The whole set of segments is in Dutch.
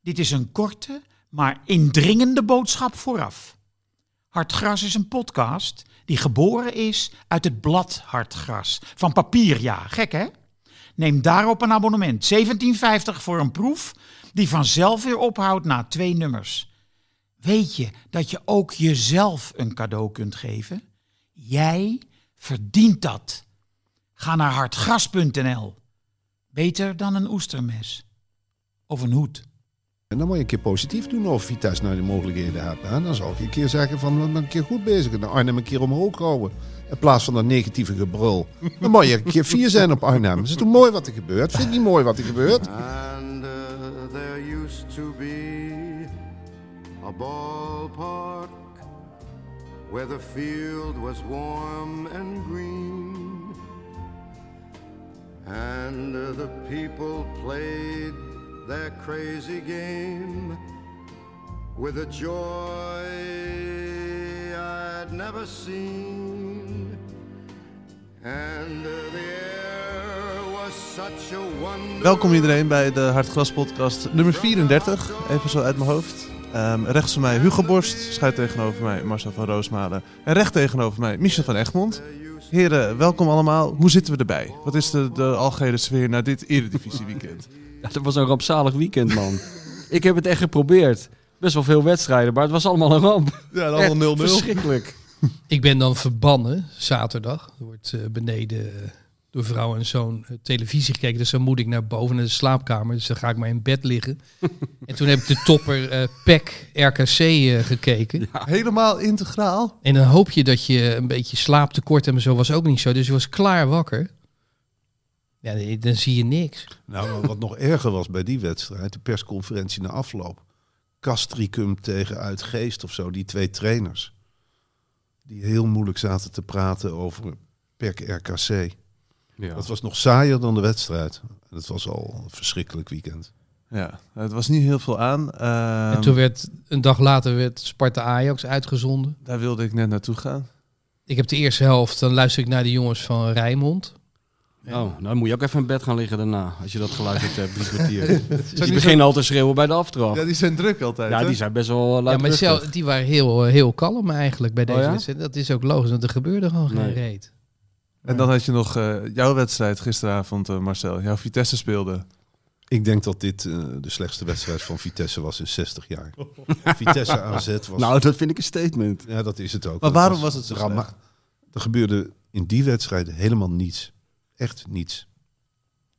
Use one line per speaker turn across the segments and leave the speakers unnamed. Dit is een korte, maar indringende boodschap vooraf. Hartgras is een podcast die geboren is uit het blad Hartgras. Van papier, ja. Gek, hè? Neem daarop een abonnement. 17,50 voor een proef die vanzelf weer ophoudt na twee nummers. Weet je dat je ook jezelf een cadeau kunt geven? Jij verdient dat. Ga naar hartgras.nl. Beter dan een oestermes. Of een hoed.
En dan moet je een keer positief doen of Vitesse nou de mogelijkheden hebt. Hè? Dan zou ik een keer zeggen van, we zijn een keer goed bezig. En Arnhem een keer omhoog houden. In plaats van dat negatieve gebrul. Dan moet je een keer vier zijn op Arnhem. Is het toch mooi wat er gebeurt? Vind je niet mooi wat er gebeurt?
And uh, there used to be a ballpark where the field was warm and green. And uh, the people played their crazy game with a joy I'd never seen. And uh, the air was such a wonder.
Welkom iedereen bij de Hartgras podcast nummer 34, even zo uit mijn hoofd. Ehm, rechts van mij Hugo Borst, schuin tegenover mij Marcel van Roosmalen en recht tegenover mij Michel van Egmond. Heren, welkom allemaal. Hoe zitten we erbij? Wat is de, de algehele sfeer na dit Eredivisie weekend?
Ja, dat was een rampzalig weekend, man. ik heb het echt geprobeerd. Best wel veel wedstrijden, maar het was allemaal een ramp.
Ja,
Echt
allemaal 0-0.
Verschrikkelijk.
Ik ben dan verbannen zaterdag. Er wordt eh, beneden eh, door vrouw en zoon eh, televisie gekeken. Dus dan moet ik naar boven naar de slaapkamer. Dus dan ga ik maar in bed liggen. en toen heb ik de topper eh PEC RKC eh, gekeken.
Helemaal integraal.
En dan hoop je dat je een beetje slaaptekort hebt. En zo was ook niet zo. Dus je was klaar wakker. Ja, nee, dan zie je niks.
Nou, wat nog erger was bij die wedstrijd, de persconferentie na afloop. Castricum tegen Uitgeest of zo, die twee trainers. Die heel moeilijk zaten te praten over PEC RKC.
Ja.
Dat was nog saaier dan de wedstrijd. Dat was al een verschrikkelijk weekend.
Ja, het was niet heel veel aan. Ehm,
en toen werd een dag later werd Sparta Ajax uitgezonden.
Daar wilde ik net naartoe gaan.
Ik heb de eerste helft. Dan luister ik naar de jongens van Rijnmond.
Oh, nou dan moet je ook even in bed gaan liggen daarna, als je dat geluisterd hebt, drie kwartier.
die
Die beginnen al te schreeuwen bij de aftrap.
Ja, die zijn druk altijd.
Ja,
hè?
die zijn best wel eh,
Ja,
luid.
maar zelf, die waren heel, eh, heel kalm eigenlijk bij deze
Oh ja?
wedstrijd. Dat is ook logisch, want er gebeurde gewoon geen
Nee.
reet.
En dan had je nog eh, jouw wedstrijd gisteravond, eh, Marcel. Jouw Vitesse speelde.
Ik denk dat dit eh, de slechtste wedstrijd van Vitesse was in 60 jaar. Vitesse AZ was...
Nou, dat vind ik een statement.
ja, dat is het ook.
Maar
Dat
waarom was het zo
drama-
slecht?
Er gebeurde in die wedstrijd helemaal niets. Echt niets.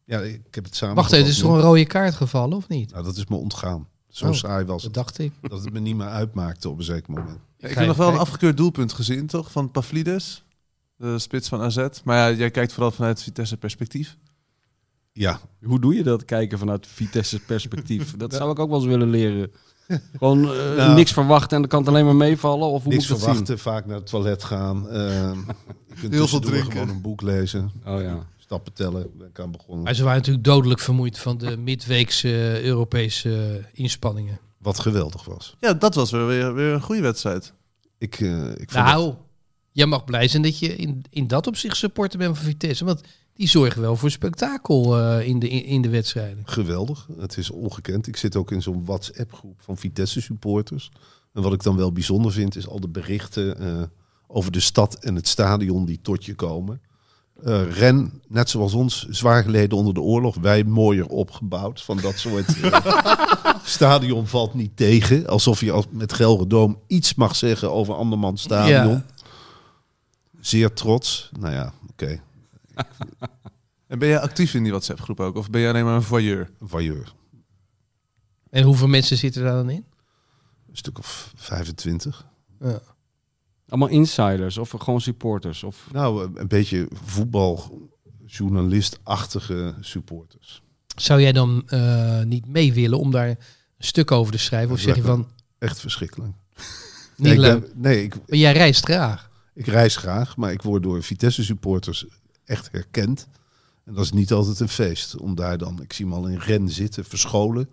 Ja, ik heb het samen...
Wacht even, is er een rode kaart gevallen of niet?
Nou, dat is me ontgaan. Zo
Oh,
saai was
Dat
het.
dacht ik.
Dat het me niet meer uitmaakte op een zeker moment.
Ik heb
ga
nog
even
wel een
kijken.
afgekeurd doelpunt gezien, toch? Van Pavlidis, de spits van AZ. Maar ja, jij kijkt vooral vanuit Vitesse perspectief.
Ja,
Hoe doe je dat, kijken vanuit Vitesse perspectief? Dat zou ik ook wel eens willen leren. Gewoon eh,
Nou.
niks verwachten en dan kan het alleen maar meevallen? Of hoe
niks
moet ik dat zien?
verwachten. Vaak naar het toilet gaan. ehm, je kunt
veel
tussendoor
drinken.
Gewoon een boek lezen.
Oh ja.
Stappen tellen. Ben ik aan begonnen.
Maar ze waren natuurlijk dodelijk vermoeid van de midweekse eh, Europese eh, inspanningen.
Wat geweldig was.
Ja, dat was weer, weer, weer een goede wedstrijd.
Ik, eh, ik vond het-
Nou, jij mag blij zijn dat je in, in dat opzicht supporter bent van Vitesse. Want die zorgen wel voor spektakel eh, in, de, in, de wedstrijden.
Geweldig. Het is ongekend. Ik zit ook in zo'n WhatsApp-groep van Vitesse supporters. En wat ik dan wel bijzonder vind, is al de berichten eh, over de stad en het stadion die tot je komen. Eh, Ren, net zoals ons, zwaar geleden onder de oorlog. Wij mooier opgebouwd van dat soort... eh, stadion valt niet tegen. Alsof je als, met Gelredoom iets mag zeggen over andermans stadion.
Ja.
Zeer trots. Nou ja, oké.
En ben jij actief in die WhatsApp-groep ook? Of ben jij alleen maar een voyeur?
Voyeur.
En hoeveel mensen zitten daar dan in?
Een stuk of 25.
Allemaal insiders of gewoon supporters? Of...
Nou, een- een beetje voetbaljournalist-achtige supporters.
Zou jij dan eh, niet mee willen om daar een stuk over te schrijven? Of zeg je van,
Echt verschrikkelijk.
niet
ik
leuk?
ben- nee, ik,
Maar jij reist graag.
ik reis graag, maar ik word door Vitesse-supporters echt herkend. En dat is niet altijd een feest. Om daar dan, ik zie hem al in ren zitten, verscholen.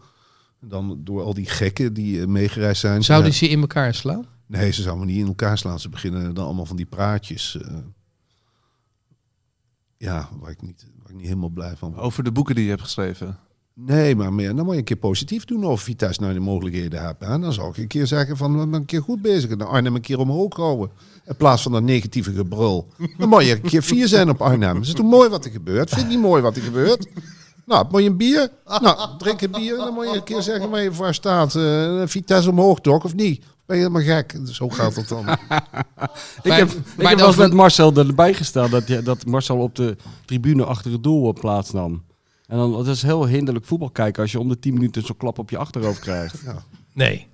En dan door al die gekken die eh, meegereisd zijn.
Zouden
Ja.
ze in elkaar slaan?
Nee, ze zouden me niet in elkaar slaan. Ze beginnen dan allemaal van die praatjes. eh, ja, waar ik, niet, waar ik niet helemaal blij van word.
Over de boeken die je hebt geschreven.
Nee, maar meer, dan moet je een keer positief doen over wie thuis nou de mogelijkheden hebt. En dan zou ik een keer zeggen van, we zijn een keer goed bezig. En de Arnhem een keer omhoog houden. In plaats van dat negatieve gebrul. Dan moet je een keer vier zijn op Arnhem. Is het toch mooi wat er gebeurt? Vind je niet mooi wat er gebeurt? Nou, moet je een bier? Nou, drink een bier en dan moet je een keer zeggen waar je voor staat. Eh, Vitesse omhoog toch, of niet? Ben je helemaal gek? Zo gaat dat dan.
Ik
Maar-
heb,
maar
ik heb wel
dan
eens
van-
met Marcel erbij gestaan dat, je- dat Marcel op de tribune achter het doel eh, plaats nam. En dan, dat is heel hinderlijk voetbal kijken als je om de 10 minuten zo'n klap op je achterhoofd krijgt.
Nee.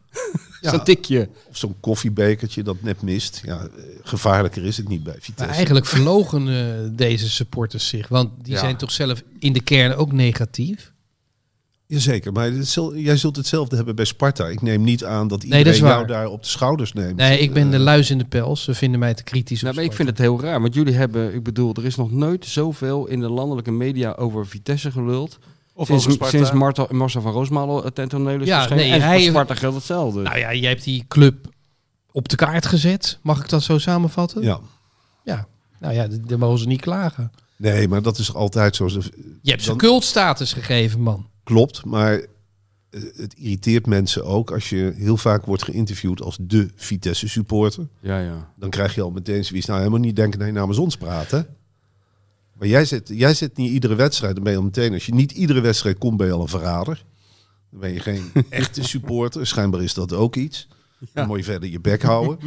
Dat is een tikje.
Of zo'n koffiebekertje dat net mist. Ja, eh, gevaarlijker is het niet bij Vitesse.
Maar eigenlijk verlogen eh, deze supporters zich. Want die
Ja.
zijn toch zelf in de kern ook negatief.
Jazeker, maar het zal- jij zult hetzelfde hebben bij Sparta. Ik neem niet aan dat
dat is
iedereen jou
waar.
daar op de schouders neemt.
Nee, ik ben de luis in de pels. Ze vinden mij te kritisch. op
Nou, maar ik
sport.
vind het heel raar, want jullie hebben, ik bedoel, er is nog nooit zoveel in de landelijke media over Vitesse geluld.
Of over
sinds
Sparta.
sinds Marta, Marcel van Roosmalen het tentoneel is
Ja,
verschenen.
nee,
en
hij-
voor Sparta geldt hetzelfde.
Nou ja, jij hebt die club op de kaart gezet. Mag ik dat zo samenvatten?
Ja.
Ja. Nou ja, d- dan mogen ze niet klagen.
Nee, maar dat is altijd zo.
Je hebt ze
Dan-
cultstatus gegeven, man.
Klopt, maar eh, het irriteert mensen ook als je heel vaak wordt geïnterviewd als de Vitesse supporter.
ja, ja.
Dan krijg je al meteen zoiets. Nou, helemaal niet denken dat je namens ons praat, hè? Maar jij zit, jij zit niet iedere wedstrijd, dan ben je al meteen. Als je niet iedere wedstrijd komt, ben je al een verrader. Dan ben je geen echte supporter. Schijnbaar is dat ook iets. Dan moet je verder je bek houden.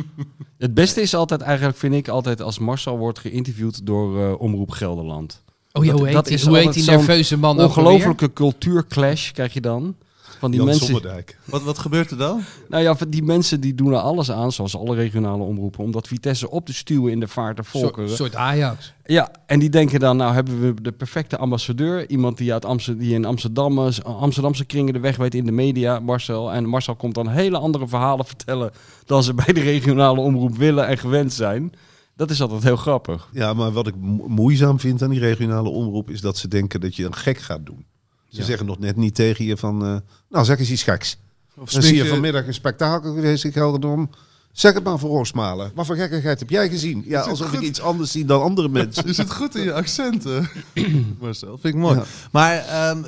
Het beste is altijd eigenlijk, vind ik, altijd als Marcel wordt geïnterviewd door eh, Omroep Gelderland.
Oh ja,
Dat-
hoe heet,
dat
die,
is
hoe heet
altijd
die
zo'n
nerveuze man ook alweer?
Ongelofelijke cultuurclash krijg je dan. Van die
Jan
mensen.
Sommerdijk.
Wat, wat gebeurt er dan?
Nou ja, die mensen die doen er alles aan, zoals alle regionale omroepen, om dat Vitesse op te stuwen in de vaart der
Een
volkeren.
soort Ajax.
Ja, en die denken dan, nou hebben we de perfecte ambassadeur. Iemand die, uit Amster- die in Amsterdam, is- Amsterdamse kringen de weg weet in de media, Marcel. En Marcel komt dan hele andere verhalen vertellen dan ze bij de regionale omroep willen en gewend zijn. Dat is altijd heel grappig.
Ja, maar wat ik mo- moeizaam vind aan die regionale omroep is dat ze denken dat je een gek gaat doen. Ze
Ja.
zeggen nog net niet tegen je van, eh, nou zeg eens iets geks.
Of
Dan
spreek
zie je
je-
vanmiddag een spektakel geweest in Gelderdom. Zeg het maar voor Roosmalen. Wat voor gekkigheid heb jij gezien? Ja,
het
alsof
goed?
ik iets anders zie dan andere mensen.
Je zit goed in je accenten. Marcel, vind ik mooi. Maar ehm,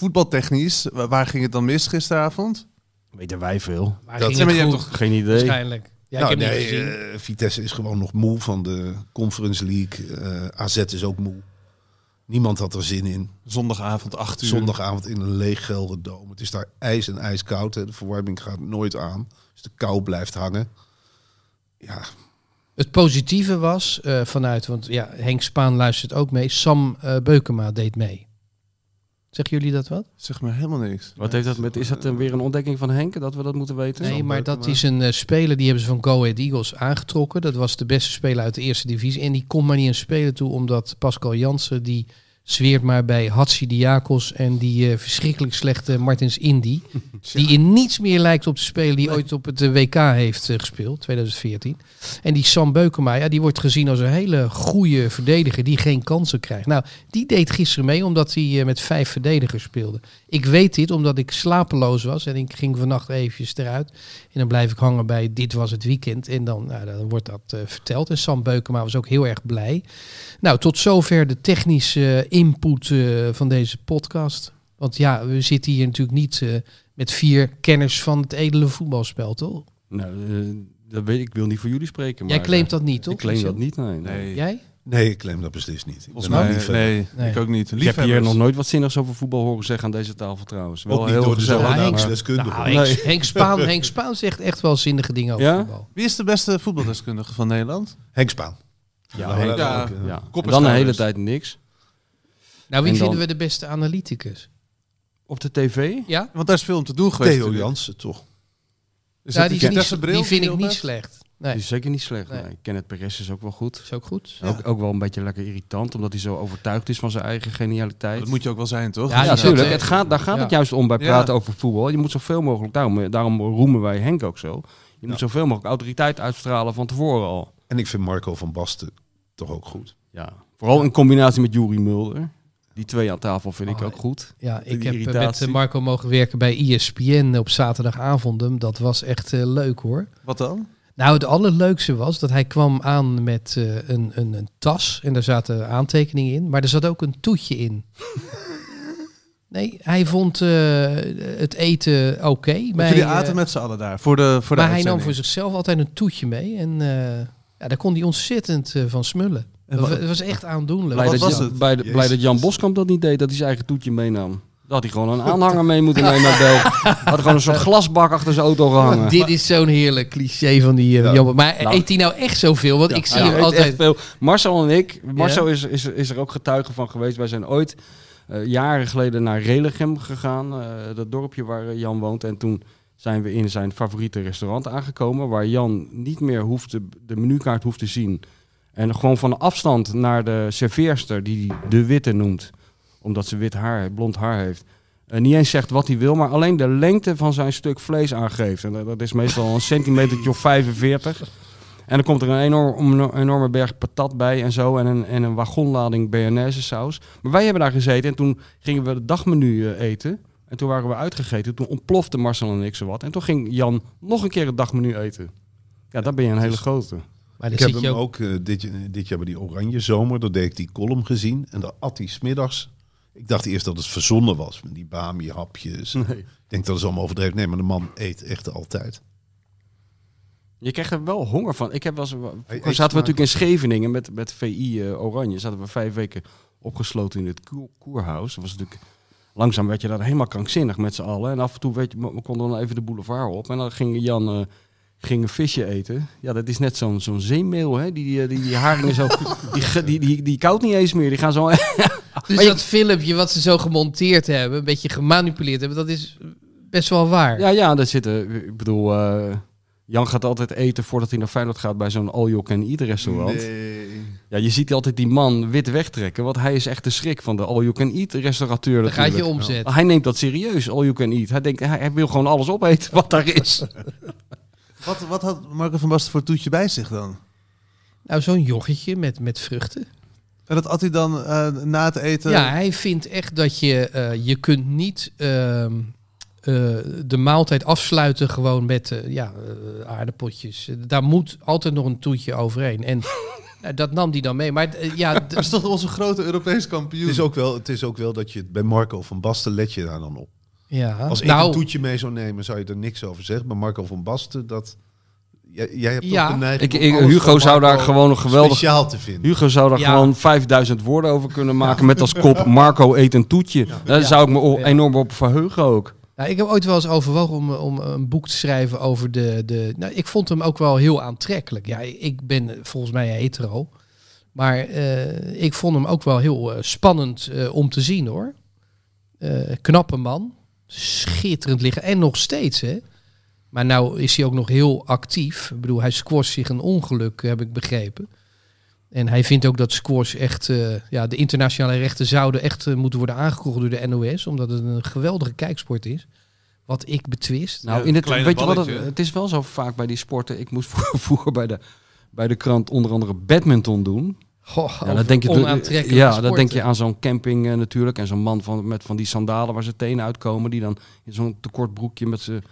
voetbaltechnisch, wa- waar ging het dan mis gisteravond?
Weten wij veel?
Maar
Dat-
ging
Ja, maar
het
je hebt
goed,
toch-
Geen idee.
waarschijnlijk. Ja,
nou,
ik heb
nee,
niet gezien.
eh, Vitesse is gewoon nog moe van de Conference League. Eh, AZ is ook moe. Niemand had er zin in.
Zondagavond, 8 uur.
Zondagavond in een leeg Gelderdoom. Het is daar ijs en ijskoud. Hè. De verwarming gaat nooit aan. Dus de kou blijft hangen. Ja,
Het positieve was eh, vanuit, want ja, Henk Spaan luistert ook mee. Sam eh, Beukema deed mee. Zeggen jullie dat wat?
Zeg maar helemaal niks.
Wat heeft dat met, is dat eh, weer een ontdekking van Henk, dat we dat moeten weten?
Nee, maar dat
Beukema.
is een eh, speler die hebben ze van Go Ahead Eagles aangetrokken. Dat was de beste speler uit de eerste divisie. En die komt maar niet een speler toe, omdat Pascal Jansen die zweert maar bij Hatsi Diakos en die eh, verschrikkelijk slechte Martins Indy. Die in niets meer lijkt op de speler die ooit op het eh, WK heeft eh, gespeeld, 2014. En die Sam Beukema, ja, die wordt gezien als een hele goede verdediger die geen kansen krijgt. Nou, die deed gisteren mee omdat hij eh, met vijf verdedigers speelde. Ik weet dit omdat ik slapeloos was en ik ging vannacht eventjes eruit. En dan blijf ik hangen bij dit was het weekend. En dan, nou, dan wordt dat eh, verteld. En Sam Beukema was ook heel erg blij. Nou, tot zover de technische input eh, van deze podcast. Want ja, we zitten hier natuurlijk niet eh, met vier kenners van het edele voetbalspel, toch?
Nou, eh, dat weet ik. Ik wil niet voor jullie spreken.
Jij
maar,
claimt
eh,
dat niet, toch?
Ik claim
Michel?
dat niet, nee. nee.
Nee,
Jij?
nee, ik claim dat beslist niet. Ik
volgens
ben
mij
ook niet
niet.
fan.
Nee,
Nee.
ik ook niet.
Ik heb hier
Liefhebbers.
nog nooit wat zinnigs over voetbal horen zeggen aan deze tafel trouwens. Wel
Ook niet
heel
door de
gezellig,
Ja, Henk-
zondagdeskundige.
Nou, Henk, Henk Spaan, Henk Spaan zegt echt wel zinnige dingen over
Ja?
voetbal.
Wie is de beste voetbaldeskundige van Nederland?
Henk Spaan.
Ja,
Nou,
Henk-
dat-
ja.
ook, eh,
ja.
Kop en
En dan de hele
schouders.
tijd niks.
Nou, wie
En dan-
vinden we de beste analyticus?
Op de tv?
Ja?
Want daar is veel om te doen geweest.
Theo
natuurlijk.
Jansen, toch?
Is dat
Nou, die,
die
is niet-
Vitesse bril
die vind
die
ik
op
niet
hebt?
slecht.
Die
Nee,
is zeker niet slecht.
Nee.
Nee. Kenneth Perez is ook wel goed.
is ook goed.
Ook, ook wel een beetje lekker irritant, omdat hij zo overtuigd is van zijn eigen genialiteit.
Dat moet je ook wel zijn, toch?
Ja,
ja,
dat-
natuurlijk.
eh,
Het gaat, daar gaat
ja.
het juist om bij
Ja.
praten over voetbal. Je moet zoveel mogelijk, daarom, eh, daarom roemen wij Henk ook zo. Je moet zoveel mogelijk autoriteit uitstralen van tevoren al.
En ik vind Marco van Basten toch ook goed.
Ja. Vooral in combinatie met Juri Mulder. Die twee aan tafel vind ik
Oh,
Ah,
ook goed.
Ja, ik
Die
heb eh, met
irritatie.
eh, Marco mogen werken bij E ESPN op zaterdagavonden. Dat was echt eh, leuk hoor.
Wat dan?
Nou, het allerleukste was dat hij kwam aan met eh, een, een, een tas en daar zaten aantekeningen in. Maar er zat ook een toetje in. Nee, hij vond eh, het eten oké. bij,
Want jullie
eh,
aten met z'n allen daar. Voor de, voor de
maar hij nam
uitzending.
voor zichzelf altijd een toetje mee. En eh, ja, daar kon hij ontzettend eh, van smullen.
En
Dat
wa-
was, dat was echt aandoenlijk.
Blij
Wat
dat,
was
Jan,
het?
Bij de- blij dat Jan Boskamp dat niet deed, dat hij zijn eigen toetje meenam. Dat had hij gewoon een aanhanger mee moeten nemen naar België. Had gewoon een soort glasbak achter zijn auto gehangen.
Oh, Dit is zo'n heerlijk cliché van die eh,
Ja.
Jan. Maar
Nou.
eet hij nou echt zoveel? Want ik zie
Ja,
hem
hij eet
altijd...
echt veel. Marcel en ik, Marcel is, is, is er ook getuige van geweest. Wij zijn ooit eh, jaren geleden naar Relichem gegaan, eh, dat dorpje waar eh, Jan woont. En toen zijn we in zijn favoriete restaurant aangekomen, waar Jan niet meer hoefde, de menukaart hoeft te zien. En gewoon van afstand naar de serveerster, die hij de witte noemt, omdat ze wit haar, blond haar heeft. En niet eens zegt wat hij wil, maar alleen de lengte van zijn stuk vlees aangeeft. En dat dat is meestal een centimeter of 45. En dan komt er een enorm, een enorme berg patat bij en zo. En een, en een wagonlading bearnaise saus. Maar wij hebben daar gezeten en toen gingen we het dagmenu eh, eten. En toen waren we uitgegeten. Toen ontplofte Marcel en ik zowat. En toen ging Jan nog een keer het dagmenu eten. Ja, daar ben je een hele grote.
Maar
Ik
dan
heb
zit je
hem
ook...
ook eh, dit, eh, dit jaar bij die Oranje Zomer, dat deed ik die column gezien. En daar at hij smiddags. Ik dacht eerst dat het verzonnen was, met die bami-hapjes. Ik denk dat is allemaal overdreven. Nee, maar de man eet echt altijd.
Je krijgt er wel honger van. Ik heb wel eens,
eet
vroeger zaten we natuurlijk in Scheveningen met, met VI eh, Oranje. Zaten we vijf weken opgesloten in het koer- koerhuis. Dat was natuurlijk, langzaam werd je daar helemaal krankzinnig met z'n allen. En af en toe werd je, we konden dan even de boulevard op. En dan ging Jan eh, ging een visje eten. Ja, dat is net zo'n zo'n zeemeel. Hè? Die, die, die, die haringen zo, die, ge- die, die, die koud niet eens meer. Die gaan zo...
Dus
Maar je-
dat filmpje wat ze zo gemonteerd hebben, een beetje gemanipuleerd hebben, dat is best wel waar.
Ja, ja, daar zitten. Ik bedoel, eh, Jan gaat altijd eten voordat hij naar Feyenoord gaat bij zo'n all you can eat restaurant. Ja, je ziet altijd die man wit wegtrekken, want hij is echt de schrik van de all you can eat restaurateur.
dan gaat je
natuurlijk.
omzet.
Hij neemt dat serieus, all you can eat. Hij denkt, hij, hij wil gewoon alles opeten wat daar is.
Wat, wat had Marco van Basten voor toetje bij zich dan?
Nou, zo'n joggetje met, met vruchten.
En dat at hij dan eh, na het eten...
Ja, hij vindt echt dat je, eh, je kunt niet ehm, eh, de maaltijd afsluiten gewoon met eh, ja, eh, aardappeltjes. Daar moet altijd nog een toetje overheen. En nou, dat nam hij dan mee. Maar eh, ja, d-
Dat is toch onze grote Europees kampioen?
Het is, ook wel, het is ook wel dat je het bij Marco van Basten let je daar dan op.
ja.
Als ik een
nou,
toetje mee zou nemen, zou je er niks over zeggen. Maar Marco van Basten, dat... Jij, jij hebt
Ja.
toch de neiging
Ik,
om
ik-
alles
Hugo
van
zou daar
Marco
gewoon een geweldig.
speciaal te vinden.
Hugo zou daar
Ja.
gewoon 5000 woorden over kunnen maken met als kop Marco eet een toetje. Daar zou ik me o-
Ja.
enorm op verheugen ook.
nou, ik heb ooit wel eens overwogen om, eh, om een boek te schrijven over de... de nou, ik vond hem ook wel heel aantrekkelijk. Ja, ik ben eh, volgens mij hetero. Maar eh, ik vond hem ook wel heel eh, spannend eh, om te zien hoor. Eh, knappe man. Schitterend liggen. En nog steeds, hè. Maar nou is hij ook nog heel actief. Ik bedoel, hij squasht zich een ongeluk, heb ik begrepen. En hij vindt ook dat squash echt... eh, ja, de internationale rechten zouden echt eh, moeten worden aangekocht door de NOS. Omdat het een geweldige kijksport is. Wat ik betwist.
Nou,
Ja,
in het,
kleine
weet je wat het,
balletje.
het is wel zo vaak bij die sporten. Ik moest vroeger, vroeger bij, de, bij de krant onder andere badminton doen.
Goh,
Ja,
over
dan denk je,
onaantrekkelijke
ja, dan
sporten.
denk je aan zo'n camping eh, natuurlijk. En zo'n man van, met van die sandalen waar zijn tenen uitkomen. Die dan in zo'n tekort broekje met ze.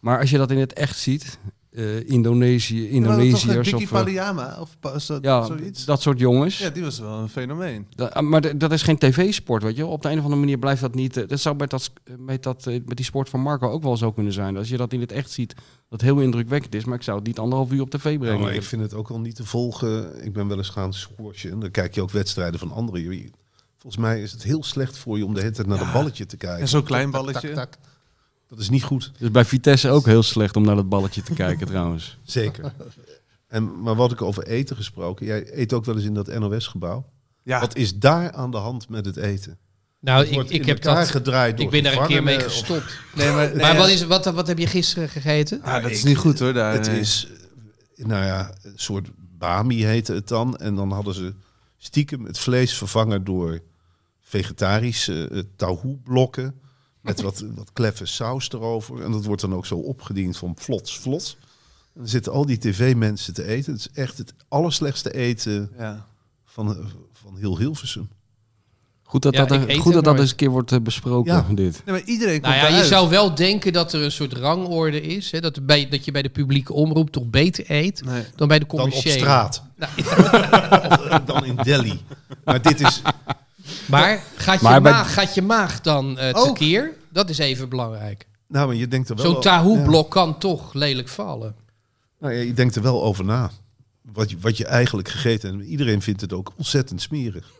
Maar als je dat in het echt ziet. eh Indonesië,
Ja, maar dat was toch, eh,
Indonesiërs
Dickie
of... eh,
Paliyama of pa- zo-
ja,
zoiets?
dat soort jongens.
Ja, die was wel een fenomeen.
Da- ah, maar d- dat is geen tv-sport, weet je wel. Op de een of andere manier blijft dat niet... eh, Dat zou met, dat, s- eh, met, dat, eh, met die sport van Marco ook wel zo kunnen zijn. Als je dat in het echt ziet, dat heel indrukwekkend is. Maar ik zou het niet anderhalf uur op tv
Ja,
brengen.
maar ik vind het ook al niet te volgen. Ik ben wel eens gaan squashen. En dan kijk je ook wedstrijden van anderen. Je- Volgens mij is het heel slecht voor je om de hele tijd naar dat balletje te kijken.
En zo'n klein
Tak, tak,
balletje.
tak, tak. Dat is niet goed,
Dus bij Vitesse ook heel slecht om naar dat balletje te kijken trouwens.
zeker. En, maar wat ik over eten gesproken. Jij eet ook wel eens in dat NOS-gebouw.
Ja,
Wat is daar aan de hand met het eten?
Nou,
Het wordt
ik, ik
in
heb
elkaar
dat...
gedraaid door
Ik ben daar een keer mee
gevangenen of- Nou,
gestopt.
nee, maar, nee,
maar wat,
ja.
is, wat, wat heb je gisteren gegeten?
Ah, dat is
Ik-
niet goed hoor. Daar,
Het
nee.
is, eh, nou ja, een soort bami heette het dan. En dan hadden ze stiekem het vlees vervangen door vegetarische eh blokken Met wat, wat kleffe saus erover. En dat wordt dan ook zo opgediend van vlots, vlots. En dan zitten al die tv-mensen te eten. Het is echt het allerslechtste eten
Ja.
van, eh, van heel Hilversum.
Goed dat
Ja,
dat,
ik eet
goed
er
dat, dat
nooit.
eens een keer wordt eh, besproken,
Ja.
dit.
Nee, maar iedereen
Nou
komt
ja, je
eruit.
zou wel denken dat er een soort rangorde is. Hè, dat, er bij, dat je bij de publieke omroep toch beter eet
Nee.
dan bij de
Dan op
commerciële.
straat.
Nou,
Of, eh, dan in Delhi. Maar dit is,
Maar gaat je,
Maar bij-
maag, gaat je maag dan eh
Oh.
tekeer? Dat is even belangrijk.
Nou, maar je denkt er wel...
Zo'n
o-
Tahoe-blok kan toch lelijk vallen.
Nou ja, je denkt er wel over na. Wat je, wat je eigenlijk gegeten hebt. Iedereen vindt het ook ontzettend smerig.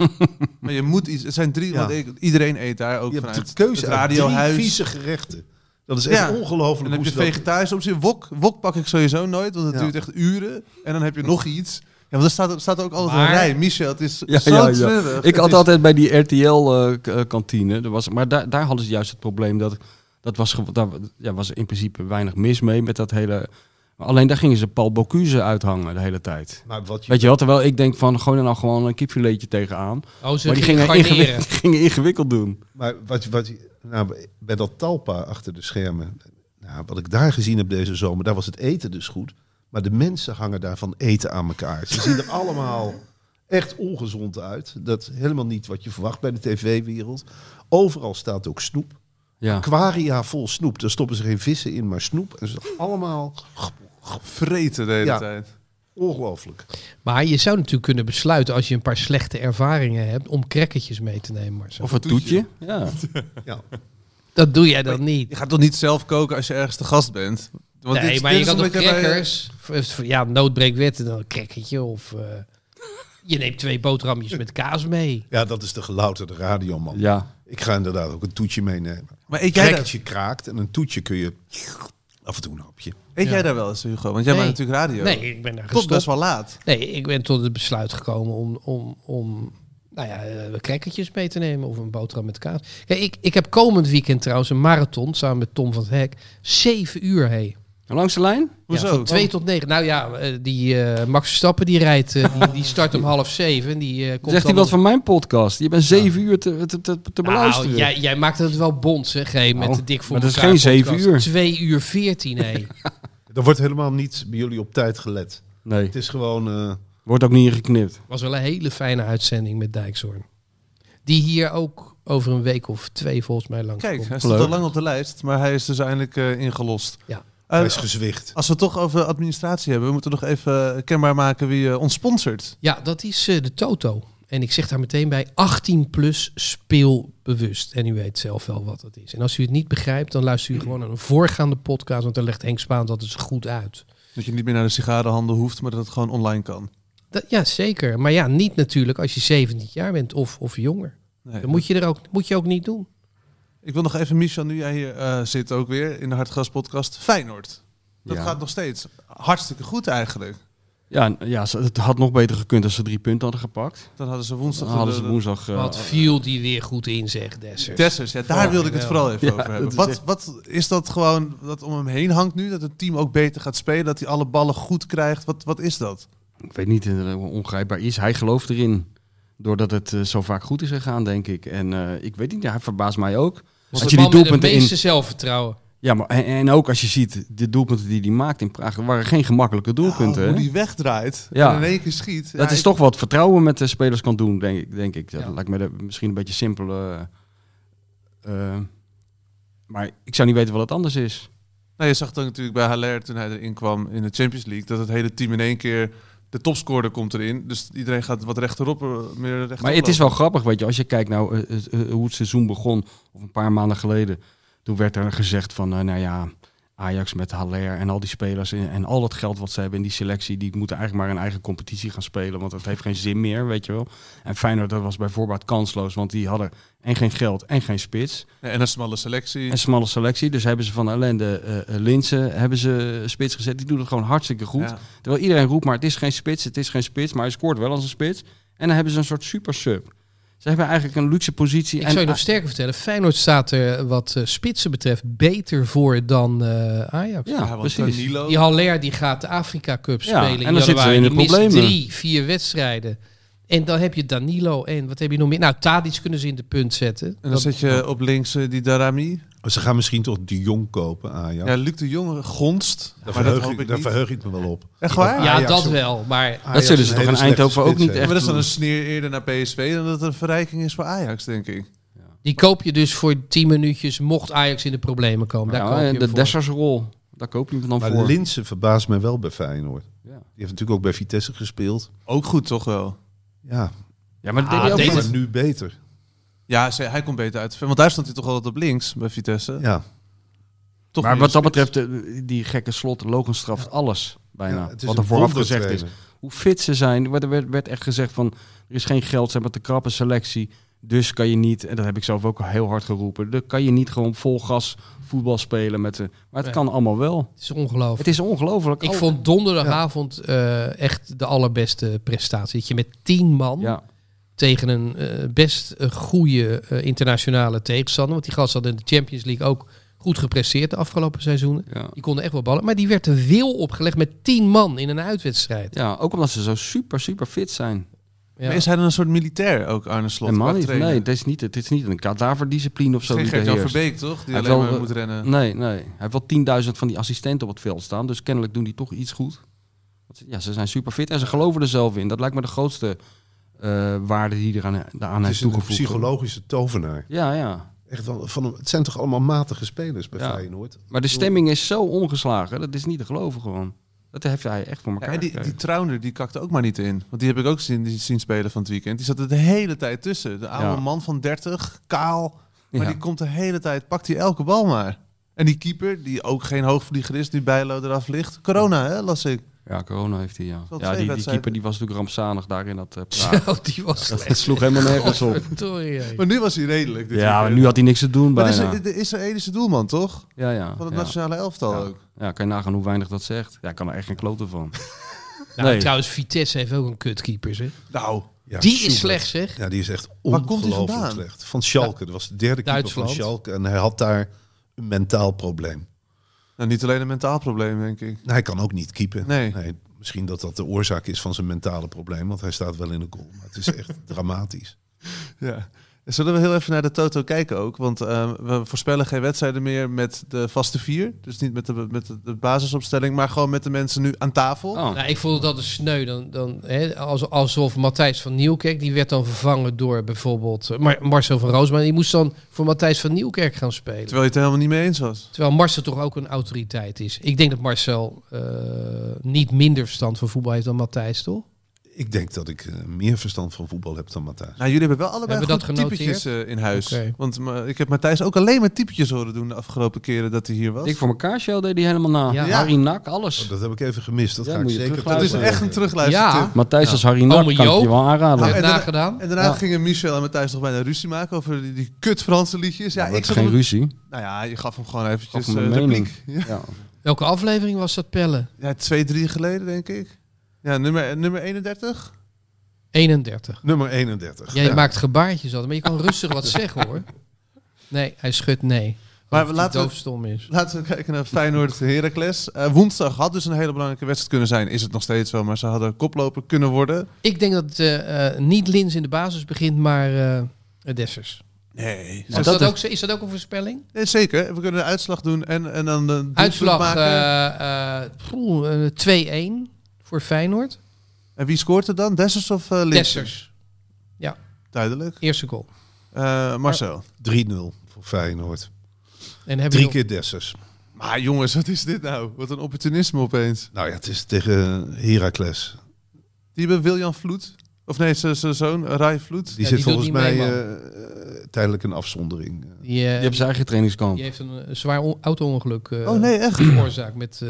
Maar je moet iets. Het zijn drie.
Ja.
Want ik- iedereen eet daar ook
je
vanuit.
hebt de keuze
het
uit drie
radiohuis.
vieze gerechten. Dat is echt
Ja.
ongelooflijk.
En dan
hoe
heb je
ze dat-
vegetarische optie. Wok, wok pak ik sowieso nooit, want het
Ja.
duurt echt uren. En dan heb je nog iets. Ja, want er staat, er staat ook altijd
Maar-
een rij. Michel, het is
Ja,
zo
ja, ja.
treurig.
Ik
Het
had
is-
altijd bij die eh, RTL-kantine, was maar daar, daar hadden ze juist het probleem dat, dat was, ge- daar ja, was in principe weinig mis mee met dat hele... Alleen daar gingen ze Paul Bocuse uithangen de hele tijd.
Maar wat je
Weet je wat, terwijl ik denk van, gooi er nou gewoon een kipfiletje tegenaan.
Oh, ze
maar die
gingen
gingen,
garneren.
ingewikkeld, die gingen ingewikkeld doen.
Maar wat, wat, nou, bij dat talpa achter de schermen, nou, wat ik daar gezien heb deze zomer, daar was het eten dus goed. Maar de mensen hangen daar van eten aan elkaar. Ze zien er allemaal echt ongezond uit. Dat is helemaal niet wat je verwacht bij de tv-wereld. Overal staat ook snoep.
Ja.
Aquaria vol snoep. Daar stoppen ze geen vissen in, maar snoep. En ze allemaal
vreten de hele
Ja.
tijd.
ongelooflijk.
Maar je zou natuurlijk kunnen besluiten, als je een paar slechte ervaringen hebt, om crackertjes mee te nemen. Marcel.
Of een toetje. Ja.
Ja.
dat doe jij dan niet.
Je gaat toch niet zelf koken als je ergens te gast bent? Want
nee,
dit-
maar
dit
je
is
kan
een
toch
beetje bij-
crackers? Of- of- Ja, noodbreekwetten, dan een crackertje. Of eh, je neemt twee boterhammetjes met kaas mee.
ja, dat is de gelouterde radioman.
ja.
Ik ga inderdaad ook een toetje meenemen.
Maar eet jij,
Kijk,
daar,
als je kraakt en een toetje kun je af en toe een hapje.
eet
Ja.
jij daar wel eens, Hugo? Want jij
Nee.
maakt natuurlijk radio.
Nee, ik ben daar
Tot
gestopt.
best wel laat.
Nee, ik ben tot het besluit gekomen om, om, om nou ja, eh, crackertjes mee te nemen of een boterham met kaas. Kijk, ik, ik heb komend weekend trouwens een marathon samen met Tom van het Hek. Zeven uur, hé.
Langs de lijn?
Hoezo? Oh.
Ja, van twee tot negen. Nou ja, eh, die eh, Max Verstappen die rijdt, eh, die, die start om half zeven. en Die, eh, komt
Zegt
dan
hij wat
om-
van mijn podcast? Je bent zeven uur te, te, te, te
Nou,
beluisteren.
jij, jij maakt het wel bond, zeg, hé, met
Nou,
de dik voor
maar dat is
elkaar
geen zeven
podcast.
uur.
Twee uur veertien, hé.
Er wordt helemaal niet bij jullie op tijd gelet.
Nee,
Het is gewoon. eh,
wordt ook niet ingeknipt.
was wel een hele fijne uitzending met Dijkshoorn. Die hier ook over een week of twee volgens mij lang
Kijk,
komt.
hij stond
Leuk.
al lang op de lijst, maar hij is dus eindelijk eh, ingelost.
Ja.
Eh,
hij is gezwicht.
als we het toch over administratie hebben, we moeten nog even eh, kenbaar maken wie eh, ons sponsort.
Ja, dat is eh, de Toto. En ik zeg daar meteen bij 18 plus speelbewust. En u weet zelf wel wat dat is. En als u het niet begrijpt, dan luistert u gewoon naar een voorgaande podcast. Want daar legt Henk Spaan dat eens goed uit.
Dat je niet meer naar de sigarenhandel hoeft, maar dat het gewoon online kan.
Dat, ja, zeker. Maar ja, niet natuurlijk als je 17 jaar bent of, of jonger.
Nee,
Dan moet je, er ook, moet je ook niet doen.
Ik wil nog even, Michel, nu jij hier eh, zit ook weer in de Hartgras podcast, Feyenoord. Dat
Ja.
gaat nog steeds hartstikke goed eigenlijk.
Ja, ja, ze- het had nog beter gekund als ze drie punten hadden gepakt.
Dan hadden ze
Dan
woensdag...
hadden ze
de-
woensdag... eh,
Wat viel die weer goed in, zegt Dessers.
Dessers, ja, daar
Oh,
wilde ik het
ja.
vooral even
Ja,
over
dat
hebben.
is
Wat,
echt-
wat is dat gewoon dat om hem heen hangt nu? Dat het team ook beter gaat spelen, dat hij alle ballen goed krijgt. Wat, wat is dat?
ik weet niet eh, hoe ongrijpbaar is. Hij gelooft erin. Doordat het eh, zo vaak goed is gegaan, denk ik. En eh, ik weet niet, ja, hij verbaast mij ook.
Was
Als je die
de man met het
doelpunten in...
meeste zelfvertrouwen.
Ja, maar en, en ook als je ziet, de doelpunten die hij maakt in Praag waren geen gemakkelijke doelpunten.
Ja, Oh, hoe
hè?
die wegdraait
Ja.
en in één keer schiet.
Dat
Ja,
is
ik-
toch wat vertrouwen met de spelers kan doen, denk ik. Denk ik. Dat
Ja.
lijkt me de- misschien een beetje simpel. eh, eh, maar ik zou niet weten wat het anders is.
Nou, je zag dan natuurlijk bij Haller toen hij erin kwam in de Champions League... dat het hele team in één keer... De topscorer komt erin, dus iedereen gaat wat rechterop, eh, meer rechterop.
Maar het is wel grappig, weet je. Als je kijkt nou, eh, eh, eh, hoe het seizoen begon, of een paar maanden geleden. Toen werd er gezegd van, eh, nou ja, Ajax met Haller en al die spelers. En, en al dat geld wat ze hebben in die selectie. Die moeten eigenlijk maar een eigen competitie gaan spelen. Want dat heeft geen zin meer, weet je wel. En Feyenoord, dat was bij voorbaat kansloos. Want die hadden en geen geld en geen spits.
Ja, En een smalle selectie.
Een smalle selectie. Dus hebben ze van ellende eh eh, Linsen hebben ze eh, spits gezet. Die doen het gewoon hartstikke goed.
Ja.
Terwijl iedereen roept maar het is geen spits, het is geen spits. Maar hij scoort wel als een spits. En dan hebben ze een soort super sub. Ze hebben eigenlijk een luxe positie.
Ik
en, Ah,
zou je nog sterker vertellen. Feyenoord staat er wat eh, spitsen betreft beter voor dan eh, Ajax.
Ja,
Ja, want
precies.
Danilo-
Die Haller die gaat de Afrika Cup
Ja,
spelen
en
in
dan zitten
januari.
we in de
Die mist
problemen.
drie, vier wedstrijden. En dan heb je Danilo en wat heb je nog meer? Nou, Tadic kunnen ze in de punt zetten.
En dan
Dat-
zet je op links eh, die Darami.
Ze gaan misschien toch de jong kopen, Ajax.
Ja, Luc de Jonge gonst.
daar,
maar dat
verheug
hoop
ik,
ik
daar
niet.
verheug ik me wel op.
Echt waar?
ja,
Ajax
dat
ook.
wel. Maar
Ajax
zullen ze
is
toch
hele
in
slechte
Eindhoven ook
spits,
niet
hè.
Ja, maar
echt
dat is dan
doen.
een sneer eerder naar PSV dan dat het een verrijking is voor Ajax, denk ik.
die koop je dus voor 10 minuutjes mocht Ajax in de problemen komen. Daar
Ja,
koop je
en
hem
nou, eh, de
voor.
Dessersrol, daar koop je hem dan
Maar
voor.
Linsen verbaast mij wel bij Feyenoord.
Ja.
Die heeft natuurlijk ook bij Vitesse gespeeld.
Ook goed, toch wel?
Ja,
ja, maar dat deed
Ah,
hij ook
deze-
goed.
maar nu beter.
Ja, ze- hij komt beter uit. Want daar stond hij toch altijd op links bij Vitesse.
Ja,
Toch
maar
meer
wat dat
spits.
betreft, eh, die gekke slot, Logans straft alles bijna.
Ja, het is
wat
een
er vooraf gezegd is.
wondertrainer.
Hoe fit ze zijn. Er werd, werd echt gezegd van, er is geen geld, ze hebben te krappe selectie. Dus kan je niet, en dat heb ik zelf ook heel hard geroepen, dan kan je niet gewoon vol gas voetbal spelen met de... Maar het
Nee.
kan allemaal wel.
Het is ongelooflijk.
Het is ongelooflijk.
Ik
Al-
vond donderdagavond eh, echt de allerbeste prestatie. Dat je met tien man
Ja,
tegen een eh, best eh, goede eh, internationale tegenstander. Want die gasten hadden in de Champions League ook goed gepresteerd de afgelopen seizoenen.
ja.
Die konden echt wel ballen. Maar die werd een wil opgelegd met tien man in een uitwedstrijd.
ja, ook omdat ze zo super, super fit zijn.
Ja.
Maar is hij dan een soort militair ook, Arne Slot?
Helemaal
qua
niet.
trainer?
Nee, het is niet, het is niet een kadaverdiscipline of
Het
zo.
is geen
die er
Gert-Jan
heerst.
Verbeek, toch? Die
Hij
alleen
wil,
maar
eh,
moet rennen.
Nee, nee. Hij heeft wel 10.000 van die assistenten op het veld staan. Dus kennelijk doen die toch iets goed. Want ze- Ja, ze zijn super fit en ze geloven er zelf in. Dat lijkt me de grootste eh, waarde die eraan aan
het
heeft
is een
toegevoegd.
psychologische tovenaar.
Ja, ja.
Echt wel, van, een- het zijn toch allemaal matige spelers bij
Ja.
Feyenoord?
Maar de stemming is zo ongeslagen. Dat is niet te geloven gewoon. Dat heeft hij echt voor
Ja,
elkaar
en die, die
gekregen.
Trounder, die kakte ook maar niet in. Want die heb ik ook zien, zien spelen van het weekend. Die zat er de hele tijd tussen. De oude
Ja.
man van 30, kaal. Maar
Ja.
die komt de hele tijd, pakt hij elke bal maar. En die keeper, die ook geen hoogvlieger is, die bijlo eraf ligt. Corona, hè, las ik.
Ja, corona heeft hij, ja.
Wel
Ja,
twee
die, die
wedstrijden.
keeper die was natuurlijk rampzalig daar in dat eh Praag.
Zo, die was
Dat sloeg helemaal nergens op.
Sorry, hey.
Maar nu was hij redelijk. dit
Ja, maar
weekend.
nu had hij niks te doen
Maar dit
bijna.
is de Israëlische doelman, toch?
Ja, ja.
Van het
ja.
nationale elftal
Ja.
ook.
Ja, kan je nagaan hoe weinig dat zegt. Ja, ik kan er echt geen kloten van.
Nou,
Nee.
Trouwens, Vitesse heeft ook een kutkeeper. Zeg.
Nou,
Ja,
die
Schubert.
is slecht, zeg.
Ja, die is echt
Waar komt die
ongelooflijk
vandaan?
slecht. Van Schalke, dat was de derde keeper van
Duitsland.
Schalke. En hij had daar een mentaal probleem.
nou, niet alleen een mentaal probleem, denk ik.
Nou, hij kan ook niet keepen.
Nee.
misschien dat dat de oorzaak is van zijn mentale probleem. Want hij staat wel in de goal. Maar het is echt dramatisch.
Ja. Zullen we heel even naar de Toto kijken ook? Want eh, we voorspellen geen wedstrijden meer met de vaste vier. Dus niet met de, met de, de basisopstelling, maar gewoon met de mensen nu aan tafel.
Oh.
Nou, ik vond dat een sneu. Dan, dan, hè, als- alsof Matthijs van Nieuwkerk, die werd dan vervangen door bijvoorbeeld eh, Mar- Marcel van Roosman. Die moest dan voor Matthijs van Nieuwkerk gaan spelen.
Terwijl je het er helemaal niet mee eens was.
Terwijl Marcel toch ook een autoriteit is. Ik denk dat Marcel eh, niet minder verstand van voetbal heeft dan Matthijs, toch?
Ik denk dat ik eh, meer verstand van voetbal heb dan Matthijs.
Nou, jullie hebben wel allebei
Hebben we
goed
dat genoteerd?
typetjes eh, in huis.
Oké.
Want maar, ik heb Matthijs ook alleen maar typetjes horen doen de afgelopen keren dat hij hier was.
Ik voor elkaar show deed hij helemaal na.
Ja.
Harry Nak, alles.
Oh, dat heb ik even gemist. Dat
Ja,
ga ik
moet je
zeker
terugluisteren.
dat is
terugluisteren.
echt een terugluistertip.
Ja.
Matthijs als Harry Nak
Ome
kan ik
Joop.
je wel aanraden.
Heb
en
je
daarna-
nagedaan?
En daarna
Ja.
gingen Michel en Matthijs nog bijna ruzie maken over die, die kut Franse liedjes. Ja,
Maar dat
ik
is
zat
geen
op-
ruzie.
Nou ja, je gaf hem gewoon eventjes
Gaf hem een
eh,
mening.
repliek. Ja.
Ja.
Welke aflevering was dat, Pelle?
Ja, twee, drie geleden, denk ik. Ja, nummer, nummer 31.
31.
Nummer 31.
Jij
Ja.
maakt gebaartjes altijd, maar je kan rustig wat zeggen, hoor. Nee, hij schudt nee.
Maar
Of
we
hij
laten-
doofstom is.
Laten we kijken naar Feyenoord Heracles. Eh, woensdag had dus een hele belangrijke wedstrijd kunnen zijn. Is het nog steeds wel, maar ze hadden koploper kunnen worden.
Ik denk dat eh, eh, niet Lins in de basis begint, maar eh Dessers.
Nee.
Is dat, ook, zo- is dat ook een voorspelling?
zeker, we kunnen de uitslag doen en, en dan de doelpunt
Uitslag
maken.
eh, eh, poeh, eh, 2-1 voor Feyenoord.
En wie scoort er dan? Dessers of eh Linssen?
Dessers,
Duidelijk.
eerste goal.
Eh, Marcel.
3-0 voor Feyenoord.
En hebben
Drie
jullie-
keer Dessers.
Maar jongens, wat is dit nou? Wat een opportunisme opeens.
Nou ja, het is tegen Heracles.
Die hebben Wiljan Vloed. Of nee, zijn zijn zoon, Rai Vloed.
Die
Ja,
zit
die
volgens
doet niet
mij
mee, man.
eh, eh, tijdelijk een afzondering.
Die, eh,
Je hebt zijn eigen trainingskamp.
die heeft een eh, zwaar on- auto-ongeluk eh,
Oh nee, echt?
veroorzaakt. Met, eh,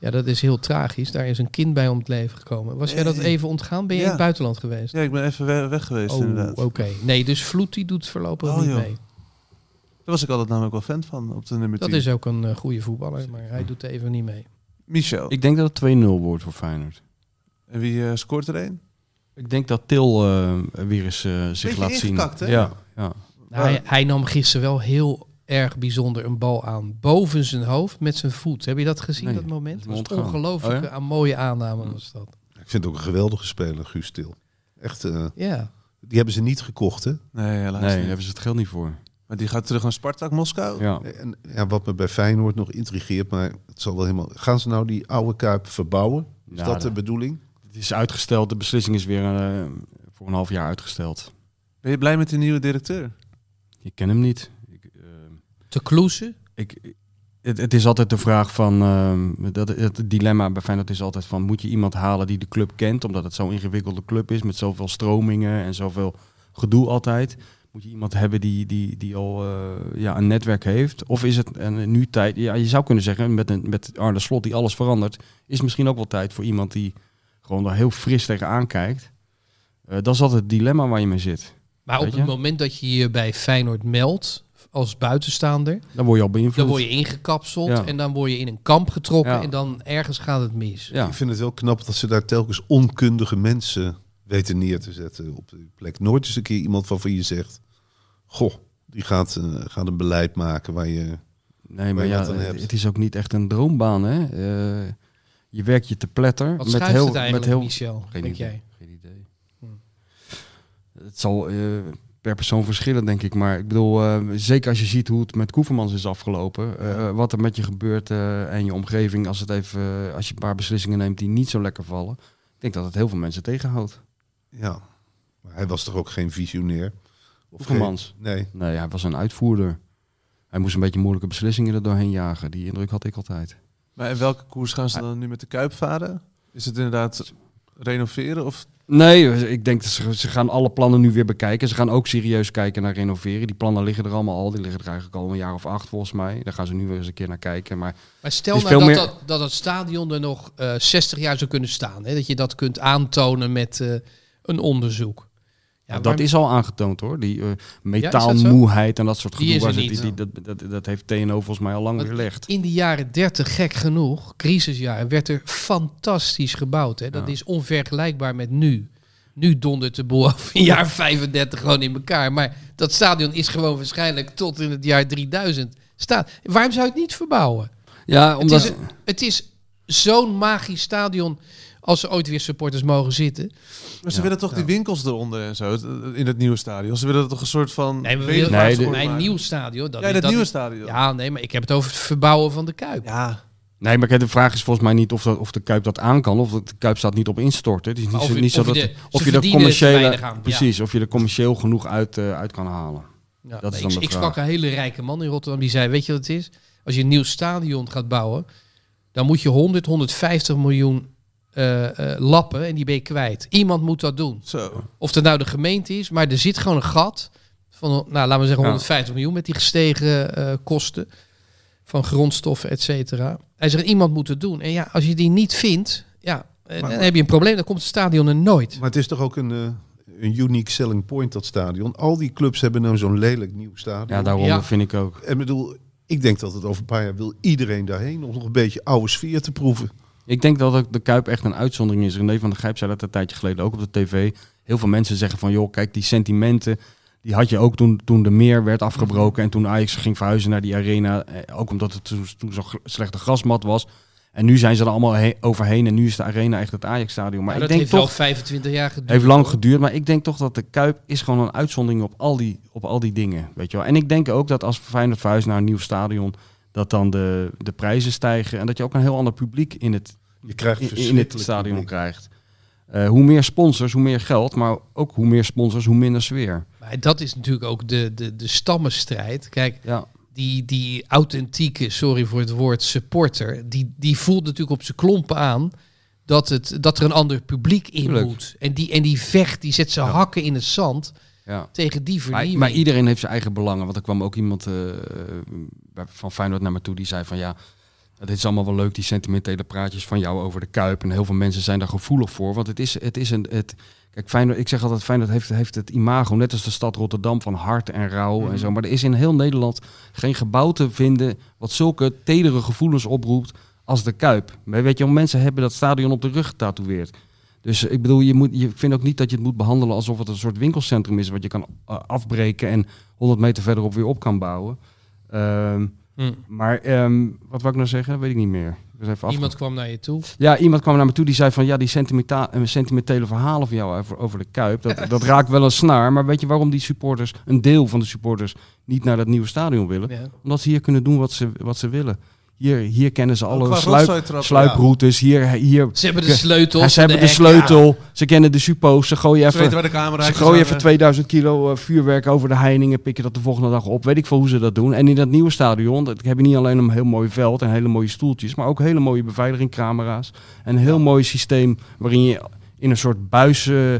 ja, dat is heel tragisch. Daar is een kind bij om het leven gekomen. Was jij dat
Nee.
even ontgaan? Ben
Ja.
je in het buitenland geweest?
Ja, ik ben even we- weg geweest
Oh,
inderdaad.
oké. Nee, dus Vloed die doet voorlopig
Oh,
niet
joh.
mee.
Daar was ik altijd namelijk wel fan van op de nummer 10.
Dat is ook een eh, goede voetballer, maar hij doet even niet mee.
Michel.
Ik denk dat het 2-0 wordt voor Feyenoord.
En wie eh, scoort er een?
Ik denk dat Til eh, weer eens eh, zich
Beetje
laat zien.
ingekakt, hè?
Ja, ja.
Nou, hij, hij nam gisteren wel heel erg bijzonder een bal aan. Boven zijn hoofd met zijn voet. Heb je dat gezien,
Nee,
dat moment?
dat is me
Dat was
ontgaan.
ongelooflijk
Oh ja? Hm.
een mooie aanname was dat.
Ik vind het ook een geweldige speler, Guus Til. Echt, eh,
Ja.
die hebben ze niet gekocht, hè?
Nee, helaas
Nee, daar
niet.
hebben ze het geld niet voor.
Maar die gaat terug naar Spartak Moskou.
Ja.
En ja, wat me bij Feyenoord nog intrigeert, maar het zal wel helemaal... Gaan ze nou die oude Kuip verbouwen? Is
Dus
dat de
Ja, Nou,
eh,
dat-
bedoeling?
Het is uitgesteld. De beslissing is weer eh, voor een half jaar uitgesteld.
Ben je blij met die nieuwe directeur?
Je kent hem niet. Ik, eh,
Te kloesen.
ik, het, het is altijd de vraag van... ehm, dat, het dilemma bij Feyenoord is altijd van... moet je iemand halen die de club kent? Omdat het zo'n ingewikkelde club is... met zoveel stromingen en zoveel gedoe altijd. Moet je iemand hebben die, die, die al eh, ja, een netwerk heeft? Of is het en nu tijd? Ja, je zou kunnen zeggen, met, een, met Arne Slot die alles verandert, is misschien ook wel tijd voor iemand die gewoon daar heel fris tegenaan kijkt. Eh, dat is altijd het dilemma waar je mee zit.
Maar
Weet
op
je?
het moment dat je je bij Feyenoord meldt als buitenstaander,
Dan word je al beïnvloed.
dan word je ingekapseld
Ja.
en dan word je in een kamp getrokken
Ja.
en dan ergens gaat het mis.
Ja.
Ik vind het wel knap dat ze daar telkens onkundige mensen weten neer te zetten op de plek. Nooit eens een keer iemand waarvan je zegt, goh, die gaat, eh, gaat een beleid maken waar je...
Nee, maar
waar je
ja,
wat aan hebt.
het is ook niet echt een droombaan, hè? Eh, je werkt je te pletter.
Wat
met
schuift
heel,
het eigenlijk,
met heel,
Michel?
Geen
denk
idee.
jij?
Geen idee.
Hm.
Het zal eh, per persoon verschillen, denk ik. Maar ik bedoel, eh, zeker als je ziet hoe het met Koevermans is afgelopen. eh, wat er met je gebeurt eh, en je omgeving. Als, het even, eh, als je een paar beslissingen neemt die niet zo lekker vallen. Ik denk dat het heel veel mensen tegenhoudt.
Ja, maar hij was toch ook geen visionair? Of
Koevermans.
geen- Nee,
Nee, hij was een uitvoerder. Hij moest een beetje moeilijke beslissingen er doorheen jagen. Die indruk had ik altijd.
Maar in welke koers gaan ze dan nu met de Kuip varen? Is het inderdaad renoveren of...
Nee, ik denk dat ze, ze gaan alle plannen nu weer bekijken. Ze gaan ook serieus kijken naar renoveren. Die plannen liggen er allemaal al. Die liggen er eigenlijk al een jaar of acht volgens mij. Daar gaan ze nu weer eens een keer naar kijken. Maar
Maar stel
Het is
nou dat,
veel meer-
dat, dat het stadion er nog eh, 60 jaar zou kunnen staan. Hè? Dat je dat kunt aantonen met eh, een onderzoek. Ja,
dat
waarom-
is al aangetoond hoor. Die eh,
is dat zo?
metaalmoeheid en dat soort
Die
gedoe.
is er
waar ze-
niet.
die, die- dat, dat, dat heeft TNO volgens mij al lang
Wat-
weerlegd.
In de jaren 30, gek genoeg, crisisjaren, werd er fantastisch gebouwd. Hè? Dat
Ja.
is onvergelijkbaar met nu. Nu dondert de boel af in jaar 35 gewoon in elkaar. Maar dat stadion is gewoon waarschijnlijk tot in het jaar 3000 staan. Waarom zou je het niet verbouwen?
Ja, omdat...
Het is, een- het is zo'n magisch stadion als er ooit weer supporters mogen zitten.
Maar ze
Ja.
willen toch die winkels eronder en zo, het- eh, in het nieuwe stadion. Ze willen toch een soort van...
Nee, we
bedevaart
willen
Nee, dit-
nee,
voor maken.
nieuw stadion. Dat,
Ja, in het
dat-
nieuwe stadion.
Ja, nee, maar ik heb het over het verbouwen van de Kuip.
Ja.
Nee, maar kijk, de vraag is volgens mij niet of, dat, of de Kuip dat aan kan. Of dat de Kuip staat niet op instorten. Het is niet
Maar
zo,
of je-
niet zo
of je
dat...
de-
of
ze
je de
verdienen er te
commerciële...
weinig aan, ja.
Precies, of je er commercieel genoeg uit, eh, uit kan halen.
Ja,
Dat is
ik,
dan de
ik
vraag.
sprak een hele rijke man in Rotterdam die zei: Weet je wat het is? Als je een nieuw stadion gaat bouwen, dan moet je 100, 150 miljoen eh, eh, lappen en die ben je kwijt. Iemand moet dat doen.
Zo.
Of dat nou de gemeente is, maar er zit gewoon een gat van, nou laten we zeggen, 150 miljoen met die gestegen eh, kosten van grondstoffen, et cetera. Hij zegt: Iemand moet het doen. En ja, als je die niet vindt, ja, eh,
Maar-
dan heb je een probleem. Dan komt het stadion er nooit.
maar het is toch ook een, eh, een unique selling point, dat stadion. Al die clubs hebben nou zo'n lelijk nieuw stadion.
Ja, daarom
Ja.
vind ik ook.
En bedoel, ik denk dat het over een paar jaar wil iedereen daarheen om nog een beetje oude sfeer te proeven.
Ik denk dat ook de Kuip echt een uitzondering is. René van der Gijp zei dat een tijdje geleden ook op de tv. Heel veel mensen zeggen van, joh, kijk, die sentimenten... die had je ook toen, toen de meer werd afgebroken... en toen Ajax ging verhuizen naar die arena. eh, Ook omdat het toen, toen zo'n gr- slechte grasmat was. En nu zijn ze er allemaal he- overheen... en nu is de arena echt het Ajax-stadion. Maar
Maar
ik
dat
denk
heeft wel
toch...
25 jaar geduurd.
Heeft lang
hoor.
geduurd, maar ik denk toch dat de Kuip is gewoon een uitzondering op al die, op al die dingen. Weet je wel. En ik denk ook dat als Feyenoord verhuist naar een nieuw stadion, dat dan de, de prijzen stijgen en dat je ook een heel ander publiek in het,
Je krijgt
in, in
verschrikkelijk
het stadion
publiek.
krijgt. Eh, hoe meer sponsors, hoe meer geld, maar ook hoe meer sponsors, hoe minder sfeer.
Maar dat is natuurlijk ook de, de, de stammenstrijd. Kijk,
Ja,
die, die authentieke, sorry voor het woord, supporter, die, die voelt natuurlijk op zijn klompen aan dat, het, dat er een ander publiek in
Tuurlijk.
moet. En die, en die vecht, die zet zijn
Ja.
hakken in het zand
ja.
tegen die
Maar,
vernieuwing.
maar iedereen heeft zijn eigen belangen. Want er kwam ook iemand eh, eh, van Feyenoord naar me toe die zei van ja, dit is allemaal wel leuk, die sentimentele praatjes van jou over de Kuip. En heel veel mensen zijn daar gevoelig voor. Want het is, het is een... Het, kijk, Feyenoord, ik zeg altijd, Feyenoord heeft, heeft het imago, net als de stad Rotterdam, van hart en rouw en zo. Maar er is in heel Nederland geen gebouw te vinden wat zulke tedere gevoelens oproept als de Kuip. Maar weet je, wel, mensen hebben dat stadion op de rug getatoeëerd. Dus eh, ik bedoel, je moet, je vindt ook niet dat je het moet behandelen alsof het een soort winkelcentrum is wat je kan eh, afbreken en 100 meter verderop weer op kan bouwen. Ehm,
Hm.
maar ehm, wat wou ik nou zeggen? Weet ik niet meer. Ik was even
Iemand
afge-
kwam naar je toe.
Ja, iemand kwam naar me toe die zei van ja, die sentimenta- eh, sentimentele verhalen van jou over, over de Kuip, dat, dat raakt wel een snaar. Maar weet je waarom die supporters, een deel van de supporters, niet naar dat nieuwe stadion willen?
Ja.
Omdat ze hier kunnen doen wat ze, wat ze willen. Hier, hier kennen ze alle
Qua
sluip,
rotzooitrap,
sluiproutes, hier, hier
Ze hebben de
Ja,
sleutel.
ja, ze hebben de sleutel, ze kennen de suppo's, ze gooien
ja. Ze weten
even,
waar de camera
ze gooien even 2000 kilo eh, vuurwerk over de heiningen, pikken dat de volgende dag op. Weet ik veel hoe ze dat doen. En in dat nieuwe stadion dat heb je niet alleen een heel mooi veld en hele mooie stoeltjes, maar ook hele mooie beveiligingcamera's. En een heel mooi systeem waarin je in een soort buis eh, eh,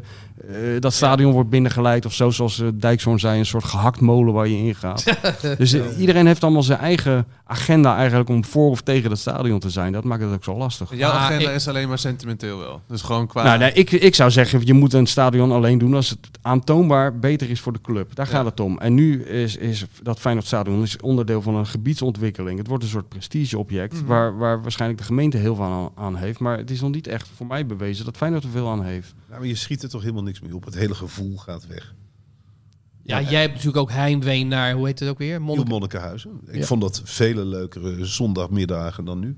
eh, dat stadion wordt binnengeleid of zo, zoals eh, Dijkshoorn zei, een soort gehaktmolen waar je in gaat. dus eh, iedereen heeft allemaal zijn eigen agenda eigenlijk om voor of tegen dat stadion te zijn. Dat maakt het ook zo lastig.
Jouw
Ah,
agenda
ik-
is alleen maar sentimenteel wel. Dus gewoon qua...
Nou, nee, ik, ik zou zeggen, je moet een stadion alleen doen als het aantoonbaar beter is voor de club. Daar gaat het om. En nu is, is dat Feyenoordstadion is onderdeel van een gebiedsontwikkeling. Het wordt een soort prestigeobject
Mhm.
waar, waar waarschijnlijk de gemeente heel veel aan, aan heeft. Maar het is nog niet echt voor mij bewezen dat Feyenoord er veel aan heeft.
Nou, maar je schiet er toch helemaal niks mee op. Het hele gevoel gaat weg.
Ja, jij hebt natuurlijk ook heimwee naar, hoe heet het ook weer?
Monnik...
Monnik-
Monnikenhuizen. Ik
Ja.
vond dat vele leukere zondagmiddagen dan nu.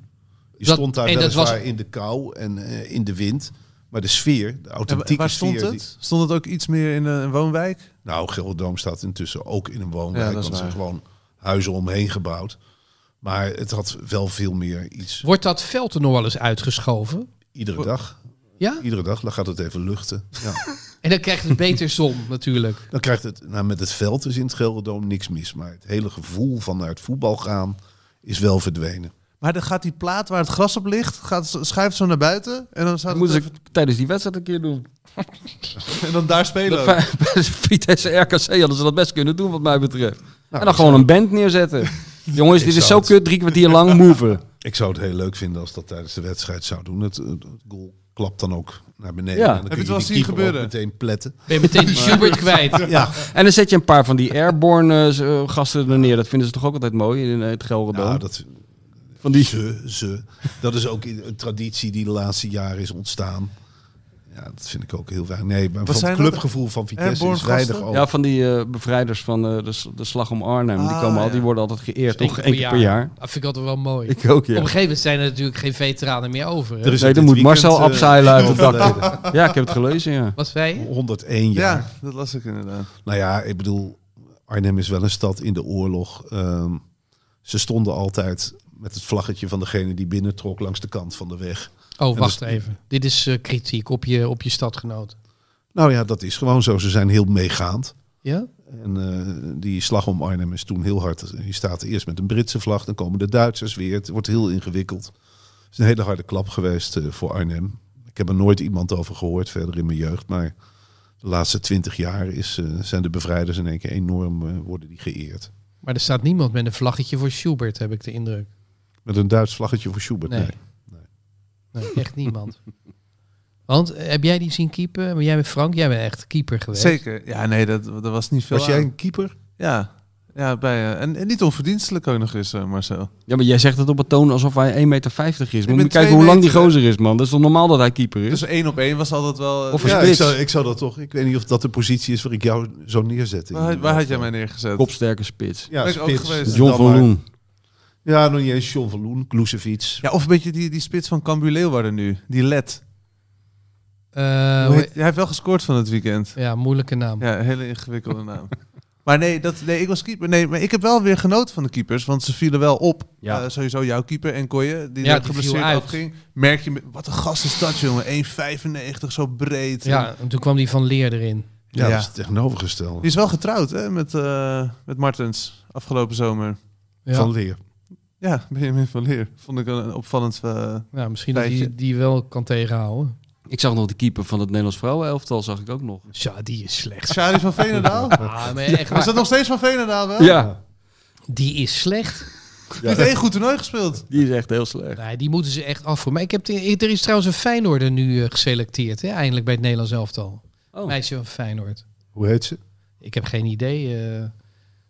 Je
Dat-
stond daar
en dat
weliswaar
was-
in de kou en eh, in de wind. Maar de sfeer, de
En wa-
authentieke
waar stond
sfeer...
het?
die-
Stond het ook iets meer in een, een woonwijk?
Nou, Gelderdoom staat intussen ook in een
Ja,
woonwijk.
dat
want
is
er zijn
waar.
gewoon huizen omheen gebouwd. Maar het had wel veel meer iets.
Wordt dat veld er nog wel eens uitgeschoven?
Iedere dag.
Ja?
Iedere dag dan gaat het even luchten. Ja.
En dan krijgt het beter zon natuurlijk.
Dan krijgt het... Nou, met het veld is in het Gelderdoom niks mis. Maar het hele gevoel van naar het voetbal gaan is wel verdwenen.
Maar dan gaat die plaat waar het gras op ligt, gaat, zo- schuift zo naar buiten. En dan,
Dat
staat het
moeten ze
even-
tijdens die wedstrijd een keer doen.
en dan daar spelen. ook.
Bij Vitesse en RKC hadden ze dat best kunnen doen wat mij betreft. en dan
Nou, dat
gewoon een band neerzetten. Jongens, dit
Ik
is zo
zou het-
kut, drie kwartier lang moeven.
Ik zou het heel leuk vinden als dat tijdens de wedstrijd zou doen. Het, het goal klapt dan ook naar beneden.
Ja.
En dan
Heb
kun
je het wel
die
zien
keeper ook
gebeuren?
Meteen pletten.
Ben je meteen die Schubert kwijt.
Ja,
En dan zet je een paar van die airborne eh, z- eh, gasten er neer. Dat vinden ze toch ook altijd mooi in eh, het Gelderdoom.
nou, dat, eh,
van die
ze, ze. Dat is ook i- een traditie die de laatste jaren is ontstaan. Ja, dat vind ik ook heel weinig. Nee, maar van
zijn
het
dat?
clubgevoel van Vitesse
Airborne
is weinig
gasten?
over.
Ja, van die eh, bevrijders van eh, de, s- de slag om Arnhem. die,
Ah,
komen al,
ja.
die worden altijd geëerd,
Eén
toch? Eén keer per jaar.
Dat vind ik altijd wel mooi.
Ik ook,
Op
ja.
een gegeven moment zijn er natuurlijk geen veteranen meer over. hè?
Er is
Nee,
op
dan
dit
moet
weekend,
Marcel
eh,
abzeilen uit het dak.
overleden.
Ja, ik heb het gelezen, ja.
Wat wij?
101 jaar.
Ja, dat las ik inderdaad.
Nou ja, ik bedoel, Arnhem is wel een stad in de oorlog. Ehm, ze stonden altijd met het vlaggetje van degene die binnentrok langs de kant van de weg.
Oh,
is-
wacht even. Dit is eh, kritiek op je, op je stadgenoot.
Nou ja, dat is gewoon zo. Ze zijn heel meegaand.
Ja?
En eh, die slag om Arnhem is toen heel hard. Je staat eerst met een Britse vlag, dan komen de Duitsers weer. Het wordt heel ingewikkeld. Het is een hele harde klap geweest eh, voor Arnhem. Ik heb er nooit iemand over gehoord verder in mijn jeugd. Maar de laatste twintig jaar is, eh, zijn de bevrijders in één keer enorm eh, worden die geëerd.
Maar er staat niemand met een vlaggetje voor Schubert, heb ik de indruk.
Met een Duits vlaggetje voor Schubert.
Nee.
Nee.
Nee, echt niemand. Want eh, heb jij die zien keeper? Maar jij bent Frank, jij bent echt keeper geweest.
Zeker. Ja, nee, dat, dat was niet veel
Was jij
aan.
een keeper?
Ja. Ja, bij, eh, en, en niet onverdienstelijk ook nog eens, eh, Marcel.
Ja, maar jij zegt het op een toon alsof hij 1,50 meter is.
ben
Moet je
2
kijken hoe lang die
meter, hè.
gozer is, man. Dat is toch normaal dat hij keeper is?
Dus één op één was altijd wel... eh,
Of een
Ja, ik
spits.
zou, ik zou dat toch. Ik weet niet of dat de positie is waar ik jou zo neerzet. in
waar,
ieder
waar had jij
geval.
mij neergezet?
Kopsterke spits.
Ja,
Ben ik ook
spits.
geweest.
En
John
dan
van
maar-
Loen.
Ja, nog niet eens John van Loen, Kloesevic.
Ja, of een beetje die, die spits van Cambuur Leeuwarden nu. Die Let.
Eh,
Hoe heet- hij heeft wel gescoord van het weekend.
ja, moeilijke naam.
Ja, een hele ingewikkelde naam. Maar nee, dat, nee, ik was keeper. Nee, maar ik heb wel weer genoten van de keepers, want ze vielen wel op.
Ja.
Eh, sowieso jouw keeper en Koye, die
Ja,
er
die viel
geblesseerd
uit.
afging. Merk je, met- wat een gast is dat, jongen. 1,95, zo breed.
Ja, en toen kwam die van Leer erin.
Ja,
Ja.
dat is het tegenovergestelde.
Die is wel getrouwd hè, met, eh, met Martens afgelopen zomer.
Ja.
Van Leer.
Ja, Benjamin van Leer. Vond ik een een opvallend... eh,
Ja, misschien dat
Feitje.
die, die wel kan tegenhouden.
Ik zag nog de keeper van het Nederlands vrouwenelftal, zag ik ook nog.
Ja, die is slecht.
Shari van Veenendaal?
Ah, maar echt
Is
waar.
dat nog steeds van Veenendaal wel?
Ja,
Die is slecht.
Die heeft één goed toernooi gespeeld.
die is echt heel slecht.
Nee, die moeten ze echt afvoeren. Maar ik heb de- ik- er is trouwens een Feyenoorder nu eh, geselecteerd. Hè? Eindelijk bij het Nederlands elftal.
Oh.
Meisje van Feyenoord.
Hoe heet ze?
Ik heb geen idee. eh.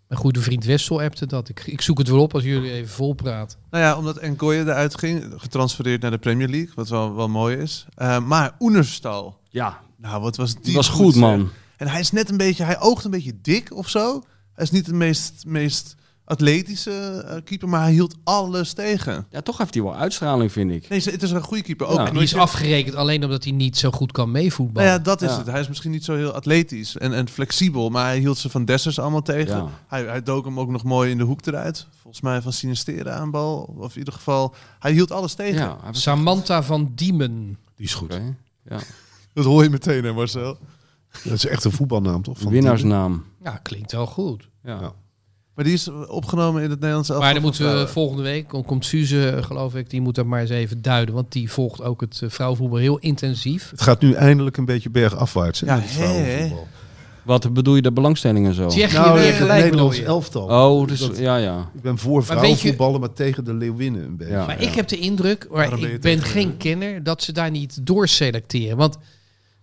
mijn goede vriend Wessel appte dat. Ik, ik zoek het wel op als jullie even volpraten.
Nou ja, omdat Enkoye eruit ging, getransfereerd naar de Premier League, wat wel, wel mooi is. Eh, maar Oenerstal,
Ja,
nou wat was die,
die was goed,
zeg.
man.
En hij is net een beetje, hij oogt een beetje dik of zo. Hij is niet de meest, meest atletische eh, keeper, maar hij hield alles tegen.
Ja, toch heeft hij wel uitstraling, vind ik.
Nee, ze- het is een goede keeper. Ook
Ja.
nooit-
Die is afgerekend alleen omdat hij niet zo goed kan
Nou
meevoetballen.
ja, dat is
Ja.
het. Hij is misschien niet zo heel atletisch en, en flexibel, maar hij hield ze van Dessers allemaal tegen.
Ja.
Hij, hij dook hem ook nog mooi in de hoek eruit. Volgens mij van Sinistera aan bal. Of in ieder geval, hij hield alles tegen.
Ja, hij was-
Samantha van Diemen.
Die is goed.
Oké.
Dat hoor je meteen hè Marcel.
Dat is echt een voetbalnaam, toch? Van
Winnaarsnaam.
Ja, klinkt wel goed.
Ja.
Ja.
Maar die is opgenomen in het Nederlandse elftal.
Maar dan moeten we
voor
volgende week, kom- komt Suze, eh, geloof ik, die moet dat maar eens even duiden. Want die volgt ook het eh, vrouwenvoetbal heel intensief.
Het gaat nu eindelijk een beetje bergafwaarts. Hè,
Ja,
met het
hè, hè.
vrouwenvoetbal.
Wat bedoel je de belangstelling en zo?
Tsjechië
Nou,
weer
het
gelijk bedoel
Nederlands
je.
elftal.
Oh, dus
Dat-
ja, ja.
Ik ben voor
Maar weet je-
vrouwenvoetballen, maar tegen de leeuwinnen een beetje.
Ja.
Maar ik heb de indruk, maar
Waarom ben je
ik ben
tegen,
geen kenner, dat ze daar niet doorselecteren. Want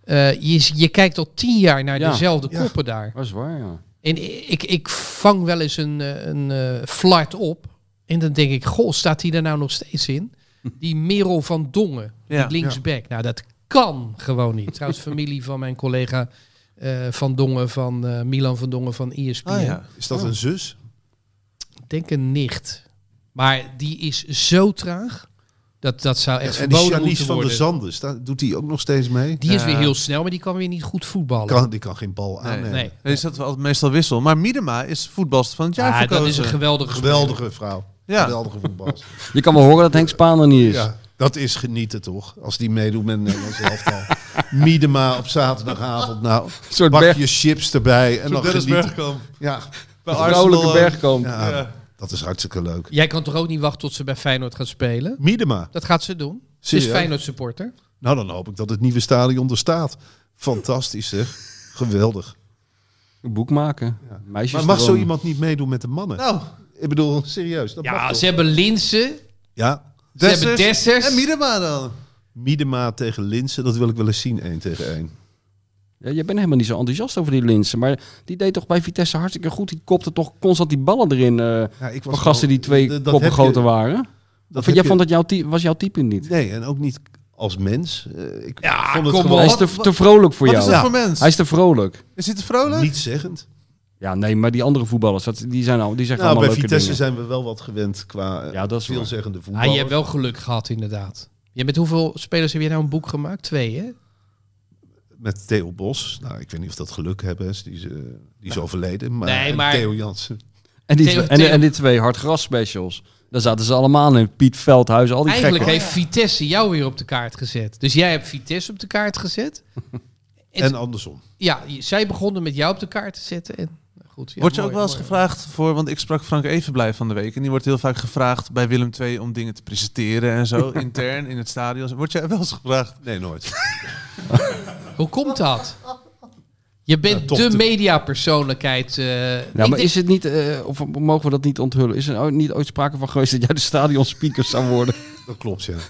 eh, je, je kijkt al tien jaar naar
Ja.
dezelfde
Ja.
koppen daar.
Dat is waar, ja.
En i- ik, ik vang wel eens een, eh, een eh, flart op. En dan denk ik, goh, staat die er nou nog steeds in? Die Merel van Dongen, die
Ja.
linksback. Nou, dat kan gewoon niet. Trouwens, familie van mijn collega eh, Van Dongen, van eh, Milan van Dongen van E ESPN.
Ah, ja.
Is dat een zus?
Ik denk een nicht. Maar die is zo traag, dat, dat zou echt
en die
verboden
Janice
moeten
van der
worden.
Zanden, sta- doet die ook nog steeds mee?
die is weer
Ja.
heel snel, maar die kan weer niet goed voetballen.
Kan, die kan geen bal
Nee,
aannemen.
nee.
Nee, is dat wel altijd meestal wissel. Maar Miedema is voetbalster van het jaar
Ja,
verkozen.
Ah, dat is een geweldige
Geweldige vrouw.
Ja.
Geweldige voetbal.
Je kan wel horen dat Henk Spaan er niet is.
Ja, dat is genieten toch? Als die meedoet met het Nederlands elftal. Miedema op zaterdagavond. Nou,
soort
pak
berg-
je chips erbij en
Zo'n
dan
Dennis
genieten.
Bergkamp.
Ja,
Bij
Een vrouwelijke
Arsenal, eh,
bergkamp.
ja,
Ja.
dat is hartstikke leuk.
Jij kan toch ook niet wachten tot ze bij Feyenoord gaat spelen?
Miedema.
Dat gaat ze doen. Ze is
Serieus?
Feyenoord supporter.
Nou, dan hoop ik dat het nieuwe stadion er staat. Fantastisch zeg. Geweldig.
Een boek maken. Meisjes
Maar mag
erom.
zo iemand niet meedoen met de mannen?
Nou,
Ik bedoel, serieus. Dat mag
Ja,
toch?
ze hebben Linsen.
ja.
Ze hebben Dessers.
En Miedema dan.
Miedema tegen Linsen, dat wil ik wel eens zien, één tegen één.
Ja, je bent helemaal niet zo enthousiast over die Linsen. Maar die deed toch bij Vitesse hartstikke goed. Die kopte toch constant die ballen erin. eh,
Ja, ik
van gasten die twee
dat- dat
koppen
heb je-
groter waren.
dat
Of jij
heb je-
vond dat jouw type, was jouw type niet?
Nee, en ook niet als mens. Eh, ik
Ja,
vond het
kom
gewoon
Hij is
Wat-
te, te vrolijk voor
Wat
jou.
is dat
Ja.
voor mens?
Hij is te vrolijk.
Is hij te vrolijk?
niet zeggend.
Ja, nee, maar die andere voetballers, dat, die, zijn al, die zeggen
Nou, bij
allemaal leuke
Vitesse
dingen.
zijn we wel wat gewend qua eh,
Ja, dat is waar.
veelzeggende
Ah,
voetbal.
je hebt wel geluk gehad, inderdaad. Je met hoeveel spelers heb je nou een boek gemaakt? Twee, hè?
Met Theo Bos. Nou, ik weet niet of dat geluk hebben is. Die is, eh, die is overleden. Maar,
Nee,
en
maar-
Theo Jansen.
En die,
Theo-
en,
Theo-
en die twee hardgras specials. Daar zaten ze allemaal in. Piet Veldhuis, al die
Eigenlijk
gekken.
heeft Vitesse jou weer op de kaart gezet. Dus jij hebt Vitesse op de kaart gezet. En-
En andersom.
Ja, je- zij begonnen met jou op de kaart te zetten. En, goed, ja,
Word je
mooi,
ook wel eens
mooi.
gevraagd voor, want ik sprak Frank Evenblij van de week en die wordt heel vaak gevraagd bij Willem II om dingen te presenteren en zo, intern in het stadion. Word jij wel eens gevraagd?
Nee, nooit.
Hoe komt dat? Je bent
toch
de
te-
mediapersoonlijkheid. eh,
Nou,
ik
maar
denk-
is het niet, eh, of mogen we dat niet onthullen? Is er ooit- niet ooit sprake van geweest dat jij de stadionspeaker zou worden?
Dat klopt, ja.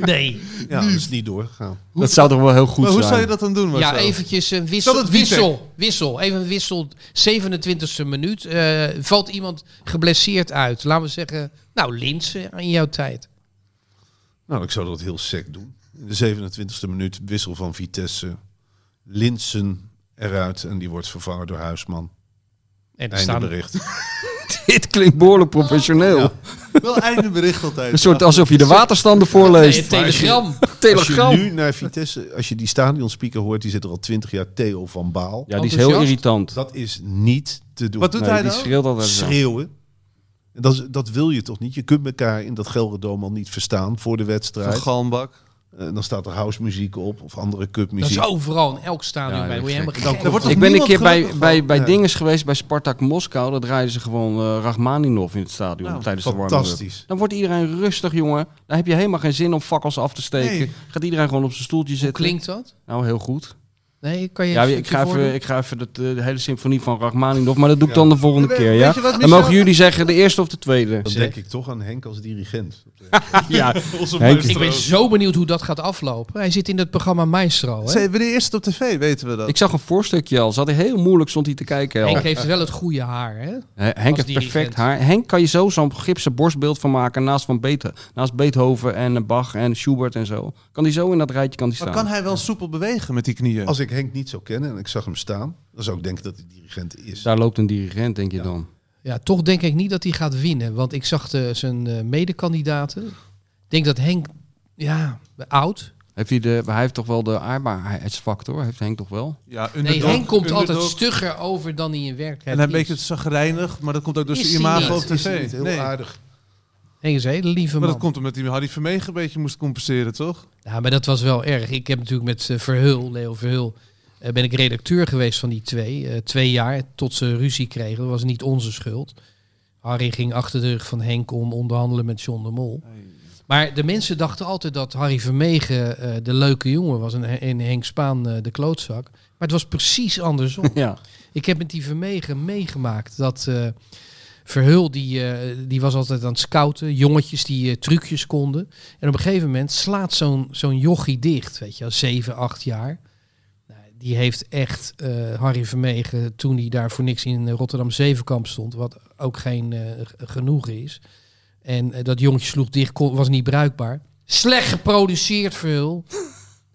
Nee.
Ja, dat is niet doorgegaan.
dat zou toch wel heel goed
maar hoe
zijn?
zou je dat dan doen?
Ja,
Marcel?
eventjes een wissel.
Zal het Witek?
wissel, wissel. Even een wissel. 27e minuut. eh, valt iemand geblesseerd uit? Laten we zeggen, nou, Linsen in jouw tijd.
Nou, ik zou dat heel sec doen. In de 27e minuut wissel van Vitesse. Linsen eruit en die wordt vervangen door Huisman.
En er
Einde
staan
bericht.
Dit klinkt behoorlijk professioneel.
Ja.
Wel einde bericht altijd.
Een soort alsof je de waterstanden voorleest.
Nee, telegram.
Als je
Telegram.
nu naar Vitesse, als je die stadionspeaker hoort, die zit er al 20 jaar Theo van Baal.
Ja, die is heel
Enthousiast?
irritant.
Dat is niet te doen.
Wat doet
Nee,
hij
die
dan?
schreeuwt altijd zo.
Schreeuwen. En dat, is- dat wil je toch niet? Je kunt elkaar in dat Gelredome al niet verstaan voor de
Een
wedstrijd.
galmbak.
En dan staat er housemuziek op of andere
Dat
cupmuziek.
is overal in elk stadion
Ja,
bij.
dat
Word je
is
helemaal gek.
Er wordt toch
Ik ben een
niemand
keer bij,
gelukkig
bij,
van?
bij
Ja.
dinges geweest bij Spartak Moskou. Daar draaiden ze gewoon eh, Rachmaninov in het stadion
Nou,
tijdens de warming-up.
Fantastisch.
Dan wordt iedereen rustig, jongen. Dan heb je helemaal geen zin om fakkels af te steken.
Nee.
Gaat iedereen gewoon op zijn stoeltje
Hoe
zitten.
klinkt dat?
Nou, heel goed.
Nee, kan je
Ja,
een
ik
stukje
ga even,
voordoen?
ik ga even dat, eh, de hele symfonie van Rachmaninov, maar dat doe ik dan de volgende
Weet-
keer,
weet
ja?
je wat,
En mogen
Michel?
jullie zeggen de eerste of de tweede?
Dan denk ik toch aan Henk als dirigent.
Ja,
Onze
Henk,
maestro.
Ik ben zo benieuwd hoe dat gaat aflopen. Hij zit in het programma Maestro. Hè?
Zij- Wanneer is het op tv, weten we dat?
ik zag een voorstukje al. Zat hij heel moeilijk, stond hij te kijken. al.
Henk heeft wel het goede haar. Hè?
Hè, Henk
Als
heeft perfect
dirigent.
haar. Henk kan je zo zo'n gipsen borstbeeld van maken naast, van Beetho- naast Beethoven en eh, Bach en Schubert en zo. Kan die zo in dat rijtje kan die
maar
staan.
kan hij wel soepel bewegen met die knieën?
Als ik Henk niet zou kennen en ik zag hem staan, dan zou ik denken dat hij dirigent is.
Daar loopt een dirigent, denk je
Ja.
dan.
Ja, toch denk ik niet dat hij gaat winnen. Want ik zag de, zijn eh, medekandidaten. Ik denk dat Henk, ja, oud.
Heeft hij, de, hij heeft toch wel de aardbaarheidsfactor? Heeft Henk toch wel?
Ja,
Nee,
underdog,
Henk komt
underdog.
altijd stugger over dan hij in werkelijkheid
En hij een
is.
beetje zagrijnig, maar dat komt ook door
Is
zijn
hij
imago op
niet?
tv.
Is hij niet heel
nee.
aardig?
Henk is een hele lieve
Maar
man.
dat komt omdat hij Harry Vermegen een beetje moest compenseren, toch?
Ja, maar dat was wel erg. Ik heb natuurlijk met eh, Verhul, Leo Verhul, eh, ben ik redacteur geweest van die twee. eh, twee jaar tot ze ruzie kregen. Dat was niet onze schuld. Harry ging achter de rug van Henk om onderhandelen met John de Mol. Maar de mensen dachten altijd dat Harry Vermegen eh, de leuke jongen was en, en Henk Spaan eh, de klootzak. Maar het was precies andersom.
Ja.
Ik heb met die Vermegen meegemaakt dat eh, Verhul, die, eh, die was altijd aan het scouten. Jongetjes die eh, trucjes konden. En op een gegeven moment slaat zo'n zo'n jochie dicht, weet je wel, zeven, acht jaar. Nou, Die heeft echt eh, Harry Vermegen, toen hij daar voor niks in Rotterdam Zevenkamp stond, wat ook geen eh, g- genoegen is. En eh, dat jongetje sloeg dicht, kon- was niet bruikbaar. Slecht geproduceerd, Verhul.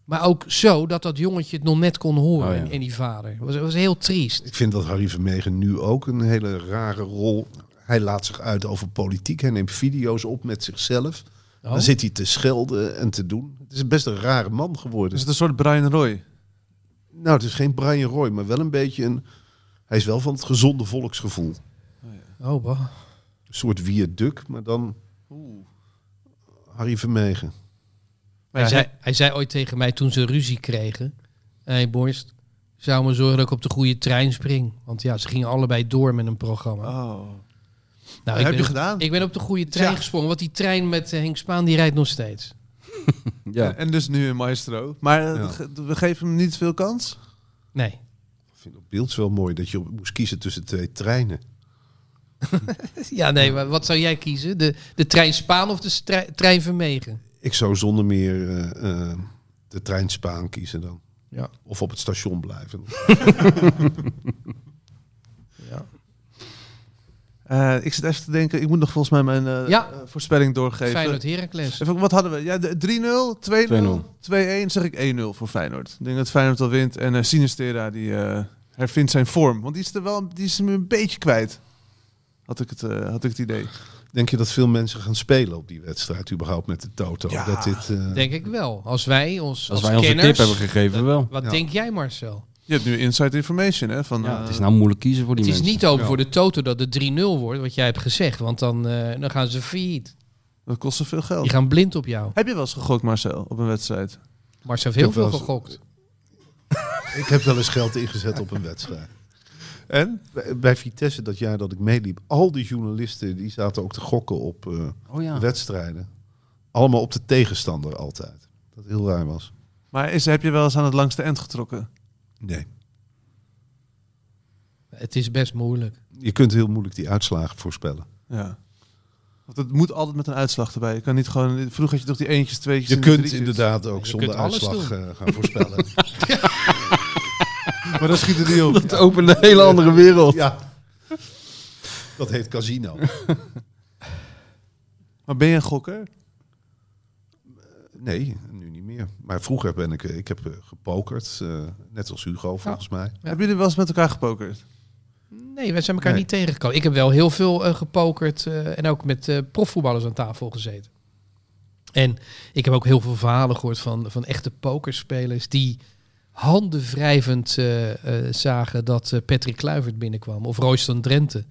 Maar ook zo dat dat jongetje het nog net kon horen.
Oh ja.
en- En die vader. was, was heel triest.
Ik vind dat Harry Vermegen nu ook een hele rare rol. Hij laat zich uit over politiek. Hij neemt video's op met zichzelf.
Oh?
Oh.
Dan zit hij te schelden en te doen. Het is best een rare man geworden.
Is het een soort Brian Roy?
Nou, het is geen Brian Roy, maar wel een beetje een... Hij is wel van het gezonde volksgevoel.
Oh, bah.
Een soort viaduct, maar dan Harry Vermegen.
Maar
hij,
ja,
zei, hij zei ooit tegen mij toen ze ruzie kregen. Hé hey, Borst, zou maar zorgen dat ik op de goede trein spring. Want ja, ze gingen allebei door met een programma.
Oh.
nou,
heb
ik
je
ben,
gedaan?
ik ben op de goede trein
Ja.
gesprongen. Want die trein met eh, Henk Spaan, die rijdt nog steeds.
ja.
En dus nu in Maestro. Maar eh,
Ja.
ge- we geven hem niet veel kans.
Nee.
Ik vind op beeld wel mooi dat je op- moest kiezen tussen twee treinen.
Ja, nee, maar wat zou jij kiezen? De, de trein Spaan of de strei- trein Vermegen?
Ik zou zonder meer eh, eh, de trein Spaan kiezen dan.
Ja.
Of op het station blijven.
Eh, ik zit even te denken, ik moet nog volgens mij mijn eh,
Ja.
eh, voorspelling doorgeven.
Feyenoord Heracles.
Even, wat hadden we? Ja, de- 3-0, 2-0, 2-1. Zeg ik 1-0 voor Feyenoord. Ik denk dat Feyenoord al wint. En eh Sinistera die eh, hervindt zijn vorm. Want die is er wel die is hem een beetje kwijt. Had ik het, eh, had ik het idee.
Denk je dat veel mensen gaan spelen op die wedstrijd überhaupt met de Toto?
Ja,
dat dit, eh,
Denk ik wel. Als wij ons
Als
als,
wij onze tip
kenners...
hebben gegeven, wel.
wat
Ja.
denk jij, Marcel?
Je hebt nu inside information hè, van
Ja,
eh,
het is nou moeilijk kiezen voor die
Het is
mensen.
niet open
Ja.
voor de Toto dat het 3-0 wordt, wat jij hebt gezegd. Want dan, eh, dan gaan ze failliet.
Dat kost zoveel geld.
Die gaan blind op jou.
Heb je wel eens gegokt, Marcel, op een wedstrijd?
Marcel
Ik
heeft heel
heb wel
veel
eens-
gegokt.
ik heb wel eens geld ingezet op een wedstrijd.
En?
Bij, bij Vitesse dat jaar dat ik meeliep, al die journalisten die zaten ook te gokken op eh,
Oh ja.
wedstrijden. Allemaal op de tegenstander altijd. Dat heel raar was.
Maar is, heb je wel eens aan het langste eind getrokken?
Nee.
Het is best moeilijk.
Je kunt heel moeilijk die uitslagen voorspellen.
Ja. Want het moet altijd met een uitslag erbij. Je kan niet gewoon... Vroeger had je toch die eentjes, tweetjes
Je
en die
kunt
drietjes.
inderdaad ook
Je
zonder
kunt alles
uitslag
doen.
eh, gaan voorspellen.
Maar dan schiet het niet op.
Het opent een hele andere wereld.
ja. Dat heet casino.
Maar ben je een gokker?
Nee, nu niet meer. Maar vroeger ben ik, eh, ik heb eh, gepokerd, eh, net als
Oh.
Hugo volgens mij.
Ja.
Hebben jullie wel eens met elkaar gepokerd?
Nee, wij zijn elkaar
Nee.
niet tegengekomen. Ik heb wel heel veel eh, gepokerd eh, en ook met eh, profvoetballers aan tafel gezeten. En ik heb ook heel veel verhalen gehoord van, van echte pokerspelers die handenwrijvend eh, eh, zagen dat eh, Patrick Kluivert binnenkwam of Royston Drenthe.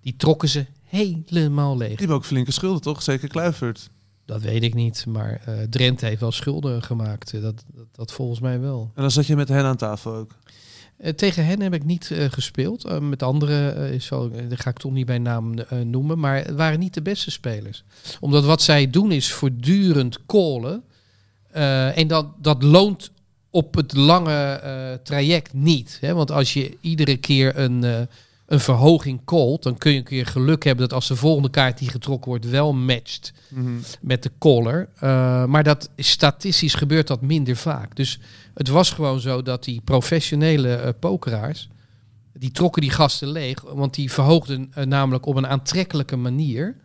Die trokken ze helemaal leeg.
Die hebben ook flinke schulden, toch? Zeker Kluivert.
Dat weet ik niet, maar eh Drenthe heeft wel schulden gemaakt. Eh, Dat, dat, dat volgens mij wel.
En dan zat je met hen aan tafel ook.
Eh, tegen hen heb ik niet eh, gespeeld. Eh, met anderen eh, is zo, daar ga ik toch niet bij naam eh, noemen. Maar het waren niet de beste spelers. Omdat wat zij doen is voortdurend callen. Eh, en dat, dat loont op het lange eh, traject niet. Hè? Want als je iedere keer een, eh, een verhoging callt... dan kun je een keer geluk hebben dat als de volgende kaart die getrokken wordt... wel matcht
Mhm.
met de caller. Eh, maar dat, statistisch gebeurt dat minder vaak. Dus het was gewoon zo dat die professionele eh, pokeraars... die trokken die gasten leeg. Want die verhoogden eh, namelijk op een aantrekkelijke manier...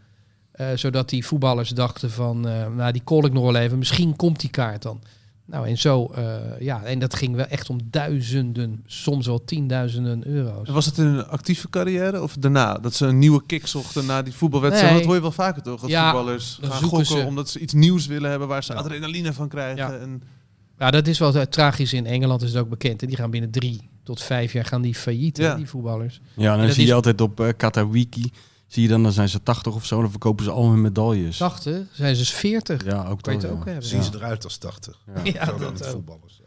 eh, zodat die voetballers dachten van... eh, nou, die call ik nog wel even. Misschien komt die kaart dan. Nou, en zo... eh, ja, en dat ging wel echt om duizenden... soms wel tienduizenden euro's.
En was het in een actieve carrière of daarna? Dat ze een nieuwe kick zochten na die voetbalwedstrijd?
Nee.
Dat hoor je wel vaker, toch? Dat
Ja,
voetballers
dan
gaan
zoeken
gokken
ze-
omdat ze iets nieuws willen hebben waar ze
Ja.
adrenaline van krijgen.
Ja.
En...
Ja, dat is wel eh, tragisch. In Engeland is het ook bekend. En die gaan binnen drie tot vijf jaar gaan die failliet, hè,
Ja.
die voetballers.
Ja, dan
dat
zie
is-
je altijd op eh, Katawiki. Zie je dan, dan zijn ze 80 of zo. Dan verkopen ze al hun medailles.
80 zijn ze dus 40.
Ja, ook
Kan je
dat.
het ook
Oh, ja.
hebben.
Zien
Ja.
ze eruit als 80.
Ja.
Ja,
Zo
dat
dat
ook.
voetballers.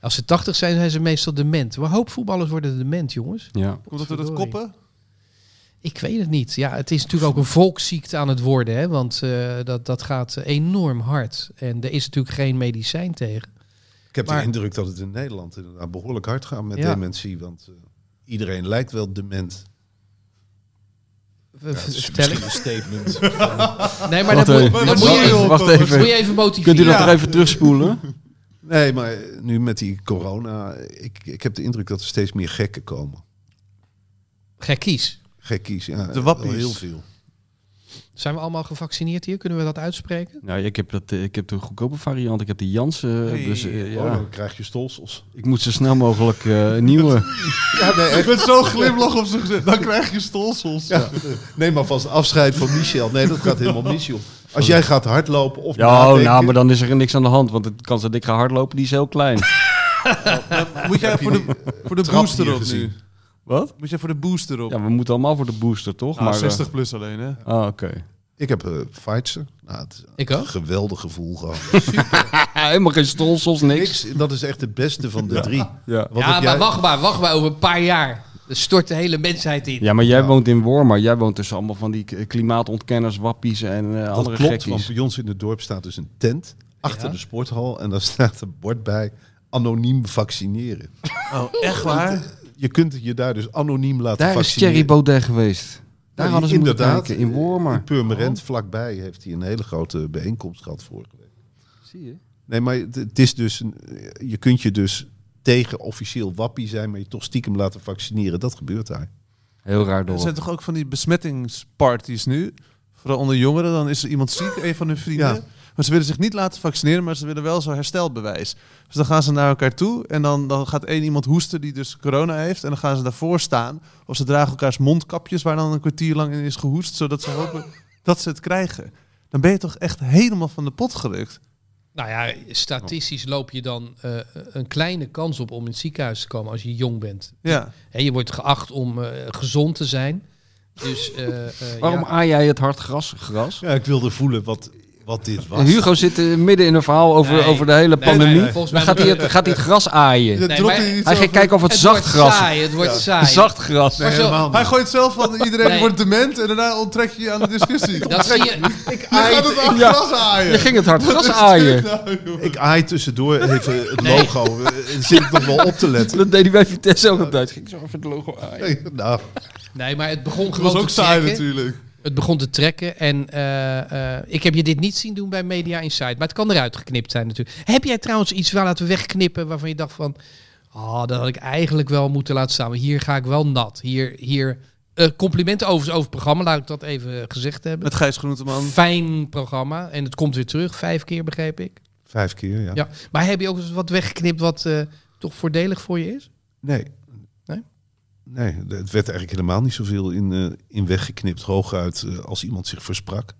Als ze 80 zijn, zijn ze meestal dement. Maar een hoop voetballers worden dement, jongens.
Ja.
Komt dat door dat
Potverdorie.
koppen?
Ik weet het niet. Ja, het is natuurlijk ook een volksziekte aan het worden. Hè? Want eh, dat, dat gaat enorm hard. En er is natuurlijk geen medicijn tegen.
Ik heb
Maar-
de indruk dat het in Nederland inderdaad behoorlijk hard gaat met
Ja.
dementie. Want eh, iedereen lijkt wel dement.
V-
Ja, dat is
Vertel ik.
misschien een statement.
Nee, maar
Wacht
dat moet,
even,
dat
wat moet
moet je even,
joh,
wacht
dat moet
even.
je even
Kunt u
motiveren.
dat er even terugspoelen?
Nee, maar eh, nu met die corona, ik, ik heb de indruk dat er steeds meer gekken komen.
Gekkies.
Gekkies, ja.
De wappies.
wel Heel veel.
Zijn we allemaal gevaccineerd hier? Kunnen we dat uitspreken?
Nou, ik heb, dat, eh, ik heb de goedkope variant. Ik heb de Janssen.
Hey,
dus eh,
Oh,
ja,
dan krijg je stolsels.
ik moet zo snel mogelijk eh, een nieuwe.
Ja, nee,
Ik ben zo'n glimlach op zijn gezicht. Dan krijg je stolsels.
neem maar vast afscheid van Michel. Nee, dat gaat helemaal mis, joh. Als jij gaat hardlopen of
Ja, oh,
nadenken,
nou, maar dan is er niks aan de hand. Want de kans dat ik ga hardlopen, die is heel klein.
Moet jij
heb je
voor de,
die,
voor de
trap
booster
hier
op
gezien?
nu?
Wat?
Moet jij voor de booster op?
Ja, we moeten allemaal voor de booster, toch?
Nou,
Ah,
maar, eh,
60 plus alleen, hè?
ah, oké.
Ik heb eh Pfizer. Nou, het is
Ik
een
ook.
geweldig gevoel gehad.
Ah, helemaal geen stolsels, niks.
Niks, dat is echt de beste van de drie.
Ja.
Wat
ja,
heb
maar
jij-
wacht maar. Wacht maar over een paar jaar. Dan stort de hele mensheid in.
ja, maar jij woont in Wormer. Jij woont tussen allemaal van die k- klimaatontkenners, wappies en eh,
Dat
andere
klopt, want
gekkies.
bij ons in het dorp staat dus een tent achter
Ja.
de sporthal. En daar staat een bord bij, anoniem vaccineren.
Oh, echt waar?
Je kunt je daar dus anoniem laten
Daar is
vaccineren.
Thierry Baudet geweest. Daar
Ja,
hadden ze moeten
inderdaad.
kijken, in
In
Wormer.
Purmerend, vlakbij, heeft hij een hele grote bijeenkomst gehad vorige week.
Zie je?
Nee, maar het, het is dus, een, je kunt je dus tegen officieel wappie zijn, maar je toch stiekem laten vaccineren. Dat gebeurt daar.
Heel raar
Er
door.
zijn toch ook van die besmettingsparties nu? Vooral onder jongeren, dan is er iemand ziek, een van hun vrienden.
Ja.
Maar ze willen zich niet laten vaccineren, maar ze willen wel zo'n herstelbewijs. Dus dan gaan ze naar elkaar toe en dan, dan gaat één iemand hoesten die dus corona heeft. En dan gaan ze daarvoor staan. Of ze dragen elkaars mondkapjes waar dan een kwartier lang in is gehoest, zodat ze hopen dat ze het krijgen. Dan ben je toch echt helemaal van de pot gelukt.
Nou ja, statistisch loop je dan eh, een kleine kans op om in het ziekenhuis te komen als je jong bent.
Ja.
Hè, je wordt geacht om eh, gezond te zijn. Dus, eh, eh,
Waarom
ja.
aai jij het hard gras? gras?
Ja, ik wilde voelen wat, wat dit was.
En Hugo zit eh, midden in een verhaal over,
Nee,
over de hele
nee, nee,
pandemie.
nee. Volgens
Dan
mij
gaat hij, het, gaat hij het gras aaien.
Ja,
maar-
dropt hij iets
hij
over-
gaat kijken of het,
Het
zacht
wordt
gras
saai, het wordt saai.
Zacht gras.
Maar zo-
helemaal niet.
Hij gooit zelf van iedereen
Nee.
wordt dement en daarna onttrek je je aan de discussie.
Dat zie je,
Je gaat het aan
Ja.
gras aaien.
Je ging het hard gras aaien.
nou,
Ik aai tussendoor even het logo. Eh, Zit ik nog wel op te letten?
Dat deed hij bij Vitesse ook altijd. Ging zo even het logo aaien.
Nee, nou,
nee, maar het begon
Dat was
gewoon
ook
te
saai
trekken.
natuurlijk.
Het begon te trekken en eh, eh, ik heb je dit niet zien doen bij Media Insight, maar het kan eruit geknipt zijn natuurlijk. Heb jij trouwens iets wel laten wegknippen waarvan je dacht van, ah, dat had ik eigenlijk wel moeten laten staan, maar hier ga ik wel nat. Hier, hier eh, complimenten overigens over het programma, laat ik dat even gezegd hebben.
Met Gijs Groenteman.
Fijn programma en het komt weer terug, vijf keer begreep ik.
vijf keer, ja.
Ja. Maar heb je ook eens wat weggeknipt wat eh, toch voordelig voor je is?
Nee.
Nee?
Nee, het werd eigenlijk helemaal niet zoveel in, eh, in weggeknipt. Hooguit eh, als iemand zich versprak.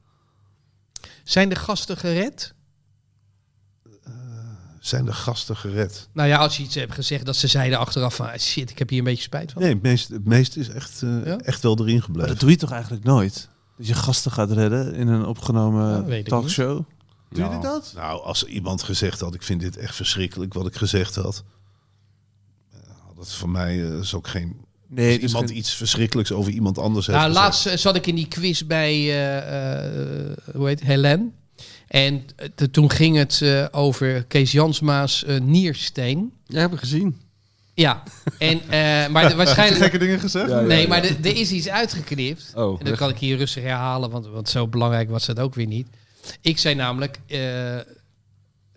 Zijn de gasten gered?
Zijn de gasten gered?
Nou ja, als je iets hebt gezegd dat ze zeiden achteraf van, ah, shit, ik heb hier een beetje spijt van.
Nee, het meeste het meest is echt, eh,
Ja?
echt wel erin
Maar
gebleven.
dat doe je toch eigenlijk nooit? Dat je gasten gaat redden in een opgenomen
Ja, weet ik
talkshow. Doe je dat?
Nou, als iemand gezegd had, ik vind dit echt verschrikkelijk wat ik gezegd had. eh, had het voor mij eh, is ook geen...
Nee, dus
als iemand iets verschrikkelijks over iemand anders heeft
Nou,
gezegd.
laatst eh, zat ik in die quiz bij, eh, eh, hoe heet het, Helen. En eh, te- toen ging het eh, over Kees Jansma's eh, niersteen.
Jij hebt het gezien.
Ja, en, eh, maar de- waarschijnlijk...
gekke dingen gezegd.
Ja, ja,
Nee,
ja.
maar de- er is iets uitgeknipt.
Oh,
en dat kan ik hier rustig herhalen, want, want zo belangrijk was dat ook weer niet. Ik zei namelijk, eh,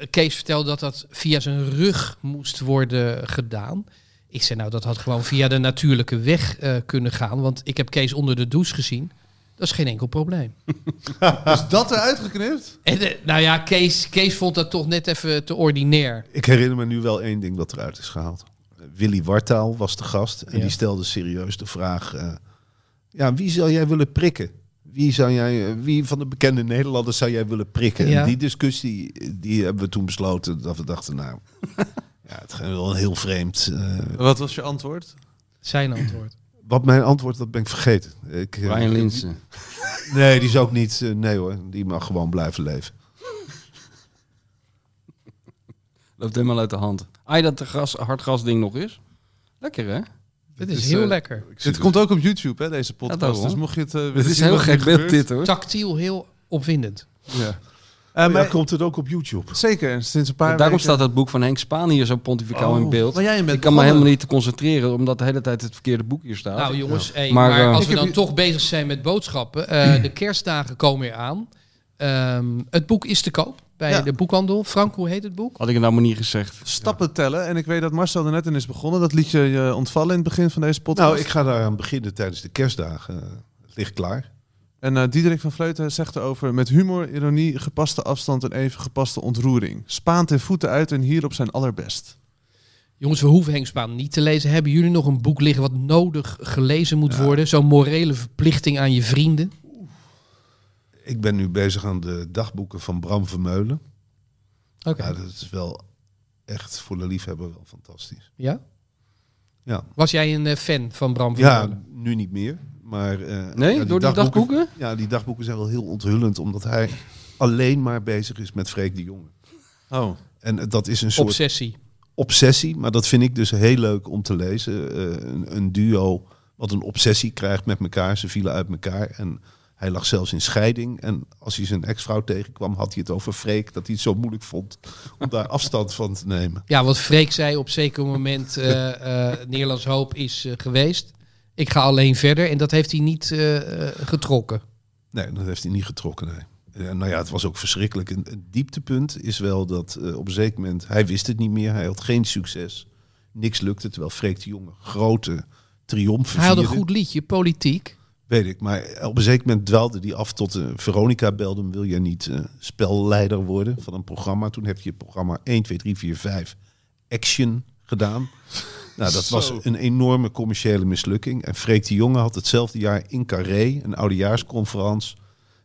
Kees vertelde dat dat via zijn rug moest worden gedaan. Ik zei, nou, dat had gewoon via de natuurlijke weg eh, kunnen gaan. Want ik heb Kees onder de douche gezien. Dat is geen enkel probleem.
Is Dus dat eruit geknipt?
En, eh, nou ja, Kees, Kees vond dat toch net even te ordinair.
Ik herinner me nu wel één ding wat eruit is gehaald. Eh, Willy Wartaal was de gast en
Ja.
die stelde serieus de vraag... eh, ja, wie zou jij willen prikken? Wie, zou jij, eh, wie van de bekende Nederlanders zou jij willen prikken?
Ja.
En die discussie eh, die hebben we toen besloten dat we dachten... nou, ja, het gaat wel heel vreemd. eh,
Wat was je antwoord?
Zijn antwoord.
wat mijn antwoord, dat ben ik vergeten. Ik, eh,
Brian Linsen.
Nee, die is ook niet... eh, nee hoor, die mag gewoon blijven leven.
Loopt helemaal uit de hand. Ah, dat de gras, hardgrasding nog is. Lekker, hè?
Het
Dit
is
is,
heel
eh,
lekker.
Ik
Dit
zit-
komt ook op YouTube, hè, deze
Ja,
podcast.
daarom.
dus mocht je het eh, willen
Het is
zien
heel
wat er
gek beeld
gebeurt.
dit, hoor.
Tactiel heel opwindend.
Ja. Eh,
Maar
maar-
Oh, ja, komt het ook op YouTube?
Zeker, sinds een paar
Daarom
weken-
staat dat boek van Henk Spaan hier zo pontificaal
Oh,
in beeld.
Maar jij bent
Ik kan me
begonnen.
helemaal niet te concentreren, omdat de hele tijd het verkeerde boek hier staat.
Nou jongens, hey,
Maar,
maar,
eh,
als
Ik
we dan
heb
toch bezig zijn met boodschappen. eh, de kerstdagen komen eraan. Ehm, het boek is te koop bij
Ja.
de boekhandel. Frank, hoe heet het boek?
Had ik het nou maar niet gezegd.
Stappen tellen. En ik weet dat Marcel er net in is begonnen. Dat liet je je ontvallen in het begin van deze podcast.
Nou, ik ga daaraan beginnen tijdens de kerstdagen. Het ligt klaar.
En eh, Diederik van Vleuten zegt erover... met humor, ironie, gepaste afstand en even gepaste ontroering. Spaant en voeten uit en hierop zijn allerbest.
Jongens, we hoeven Henk Spaan niet te lezen. Hebben jullie nog een boek liggen wat nodig gelezen moet worden? Zo'n morele verplichting aan je vrienden.
Ik ben nu bezig aan de dagboeken van Bram Vermeulen.
Oké.
Ja, dat is wel echt voor de liefhebber wel fantastisch.
Ja?
Ja.
Was jij een eh, fan van Bram van
Ja,
Meulen?
nu niet meer. Maar, eh,
Nee,
ja,
door die dagboeken?
Ja, die dagboeken zijn wel heel onthullend, omdat hij alleen maar bezig is met Freek de Jonge.
Oh.
En eh, dat is een soort
Obsessie.
obsessie, maar dat vind ik dus heel leuk om te lezen. Eh, een, een duo wat een obsessie krijgt met elkaar, ze vielen uit elkaar en hij lag zelfs in scheiding. En als hij zijn ex-vrouw tegenkwam, had hij het over Freek, dat hij het zo moeilijk vond om daar afstand van te nemen.
Ja, wat Freek zei op zeker moment, eh, eh, Nederlands Hoop is eh, geweest. Ik ga alleen verder en dat heeft hij niet eh, eh, getrokken.
Nee, dat heeft hij niet getrokken. Nee. Eh, nou ja, het was ook verschrikkelijk. Een, een dieptepunt is wel dat eh, op een zeker moment, hij wist het niet meer, hij had geen succes, niks lukte, terwijl Freek de Jonge grote triomfen
Hij had een
vierde.
goed liedje, politiek.
Weet ik, maar op een zeker moment dwaalde die af tot eh, Veronica belde hem, wil jij niet eh, spelleider worden van een programma? Toen heb je het programma 1, 2, 3, 4, 5 Action gedaan. Nou, dat was
Zo.
een enorme commerciële mislukking. En Freek de Jonge had hetzelfde jaar in Carré, een oudejaarsconferentie.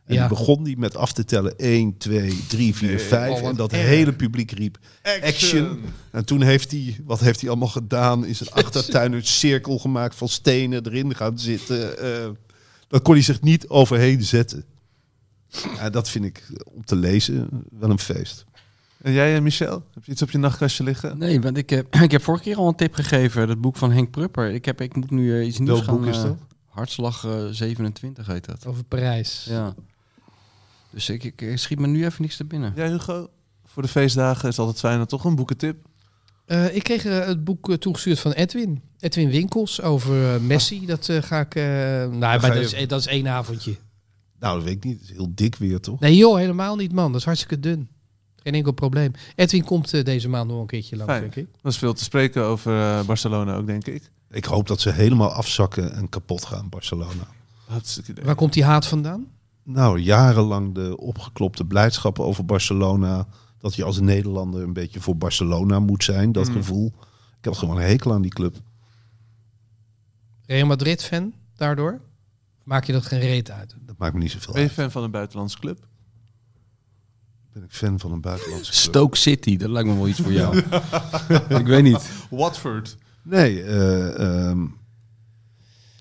En
Ja.
die begon die met af te tellen 1, 2, 3, 4, 5.
Oh, wat
en dat
erg.
hele publiek riep
Action.
Action. en toen heeft hij, wat heeft hij allemaal gedaan? Is een achtertuin een cirkel gemaakt van stenen erin gaan zitten. Eh daar kon hij zich niet overheen zetten. Ja, dat vind ik eh, om te lezen wel een feest.
En jij en Michel? Heb je iets op je nachtkastje liggen?
Nee, want ik heb, ik heb vorige keer al een tip gegeven. Dat boek van Henk Prupper. Ik, heb, ik moet nu eh, iets nieuws
Welk
gaan...
boek is
eh,
dat?
Hartslag eh, 27 heet dat.
Over Parijs.
Ja. Dus ik, ik, ik schiet me nu even niks te binnen.
Jij Hugo? Voor de feestdagen is het altijd fijn dat toch een boekentip.
Eh, ik kreeg eh, het boek eh, toegestuurd van Edwin. Edwin Winkels over eh, Messi. Dat eh, ga ik... eh, nou, maar
je-
dat is, eh, dat is één avondje.
Nou, dat weet ik niet. Het is heel dik weer, toch?
Nee joh, helemaal niet man. Dat is hartstikke dun. Geen enkel probleem. Edwin komt eh, deze maand nog een keertje langs,
Fijn.
denk ik.
Dat is veel te spreken over eh, Barcelona ook, denk ik.
Ik hoop dat ze helemaal afzakken en kapot gaan, Barcelona.
Hartstikke idee.
Waar komt die haat vandaan?
Nou, jarenlang de opgeklopte blijdschap over Barcelona. Dat je als Nederlander een beetje voor Barcelona moet zijn, dat
Mm.
gevoel. Ik heb gewoon een hekel aan die club.
Real Madrid-fan daardoor? Maak je dat geen reet uit?
Dat maakt me niet zoveel
Ben je
uit.
fan van een buitenlandse club?
Ben ik fan van een buitenlandse club.
Stoke City, dat lijkt me wel iets voor jou. ik weet niet.
Watford.
Nee, eh, ehm,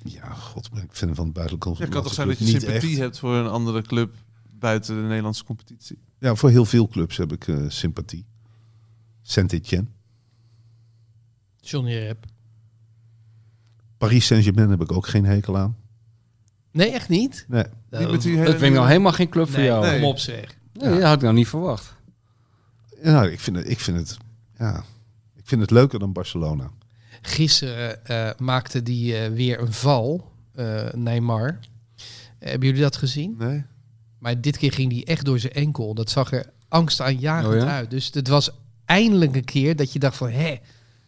ja, god, ben ik fan van het buitenland.
Het kan toch zijn dat je
Niet
sympathie
echt.
hebt voor een andere club buiten de Nederlandse competitie?
Ja, voor heel veel clubs heb ik eh, sympathie. Saint-Etienne.
Johnny Rep.
Paris Saint-Germain heb ik ook geen hekel aan.
Nee, echt niet?
Nee.
Niet met die hele
Dat vind ik nou
nieuwe-
helemaal geen club voor
Oh. Nee,
jou.
kom
Nee.
op zeg.
dat had ik nou niet verwacht.
Ja, nou, ik vind het, ik vind het, ja, ik vind het leuker dan Barcelona.
Gisteren eh, maakte die eh, weer een val, eh Neymar. hebben jullie dat gezien?
Nee.
Maar dit keer ging die echt door zijn enkel. Dat zag er angstaanjagend
Oh ja?
uit. Dus het was eindelijk een keer dat je dacht van... hé,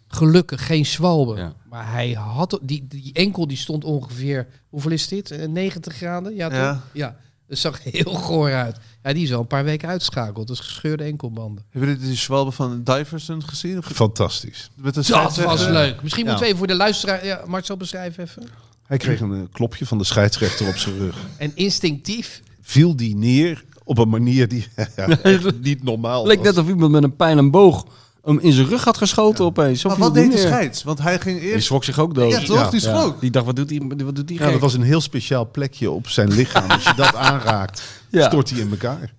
gelukkig geen zwalbe.
Ja.
Maar hij had... Die, die enkel die stond ongeveer... Hoeveel is dit? Eh, 90 graden? Ja, toch?
Ja.
Ja. Dat zag heel goor uit. Ja, die is al een paar weken uitschakeld. Dus gescheurde enkelbanden.
Hebben jullie die zwalbe van Diversen gezien? Of
Fantastisch.
met een
Dat was
scheidsrechter?
leuk. Misschien
Ja.
moeten we even voor de luisteraar... Ja, Marcel, beschrijf even.
Hij kreeg een eh, klopje van de scheidsrechter op zijn rug.
En instinctief...
Viel die neer op een manier die ja, echt niet normaal
leek
was.
net of iemand met een pijl en boog hem in zijn rug had geschoten opeens. Zo
Maar
viel
wat
die
deed de
neer.
scheids? Want hij ging
Die
eerst...
schrok zich ook dood.
Ja, toch? Die
Ja.
schrok.
Die dacht, wat doet die, wat doet die
Ja, dat
gek?
was een heel speciaal plekje op zijn lichaam. Als je dat aanraakt,
Ja.
stort hij in elkaar.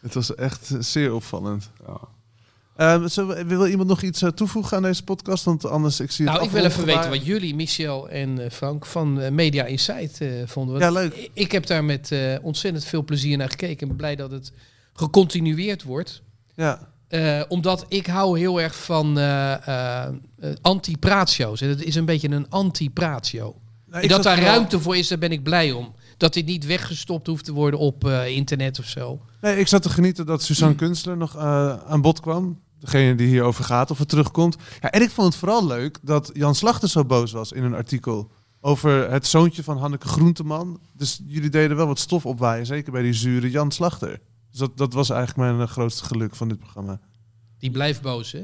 Het was echt eh, zeer opvallend.
Ja.
Eh, Ehm, zullen we- wil iemand nog iets eh, toevoegen aan deze podcast? Want anders, ik zie het
Nou, ik wil even
afrondgebaar.
weten wat jullie, Michel en eh, Frank, van eh, Media Insight eh, vonden.
Ja,
Want
leuk.
i- Ik heb daar met eh, ontzettend veel plezier naar gekeken. en Blij dat het gecontinueerd wordt.
Ja,
Eh, omdat ik hou heel erg van eh, eh, eh, anti-praatshows. En het is een beetje een anti-praatshow.
Nou,
En
ik
dat
zat
daar
vooral-
ruimte voor is, daar ben ik blij om. Dat dit niet weggestopt hoeft te worden op eh, internet of zo.
Nee, ik zat te genieten dat Suzanne Kunstler nog eh, aan bod kwam. Degene die hierover gaat of er terugkomt. Ja, en ik vond het vooral leuk dat Jan Slachter zo boos was in een artikel. Over het zoontje van Hanneke Groenteman. Dus jullie deden wel wat stof opwaaien. Zeker bij die zure Jan Slachter. Dus dat, dat was eigenlijk mijn eh, grootste geluk van dit programma.
Die blijft boos, hè?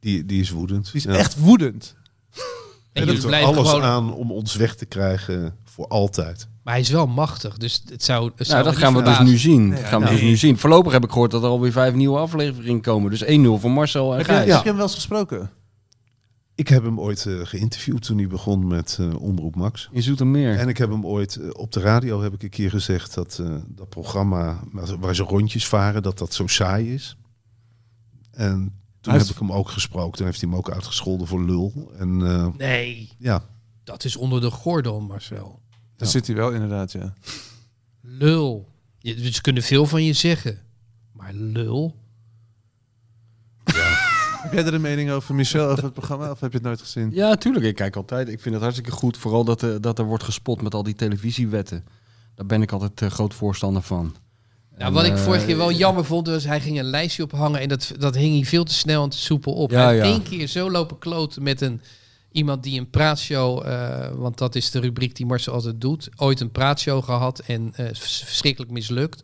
Die, die is woedend.
Die is
Ja.
echt woedend.
En
Hij
jullie
doet er
blijven
alles
gewoon...
aan om ons weg te krijgen voor altijd.
Maar hij is wel machtig, dus het zou... Het zou
Nou,
me
dat
niet
gaan we dus
verbazen.
nu zien. Dat
Nee,
gaan we
nou.
dus nu zien. Voorlopig heb ik gehoord dat er alweer vijf nieuwe afleveringen komen. Dus 1-0 voor Marcel en
Heb je,
Gijs.
heb je hem wel eens gesproken?
Ik heb hem ooit eh, geïnterviewd toen hij begon met eh, Omroep Max.
Je zoet hem meer.
En ik heb hem ooit eh, op de radio heb ik een keer gezegd dat eh, dat programma waar ze- waar ze rondjes varen, dat dat zo saai is. En toen
heeft-
heb ik hem ook gesproken. Toen heeft hij hem ook uitgescholden voor lul. En eh,
Nee,
ja,
dat is onder de gordel, Marcel.
Ja.
Daar zit hij wel inderdaad, ja.
Lul. Je, ze kunnen veel van je zeggen. Maar lul?
Heb jij er een mening over, Michel, over het programma? Of heb je het nooit gezien?
Ja, tuurlijk. Ik kijk altijd. Ik vind het hartstikke goed. Vooral dat, eh, dat er wordt gespot met al die televisiewetten. Daar ben ik altijd eh, groot voorstander van.
Nou,
En,
wat ik
eh,
vorige keer wel jammer vond, was hij ging een lijstje ophangen en dat, dat hing hij veel te snel en te soepel op.
Ja,
Hij heeft
ja.
één keer zo lopen kloten met een, iemand die een praatshow, eh, want dat is de rubriek die Marcel altijd doet, ooit een praatshow gehad en eh, vers- verschrikkelijk mislukt.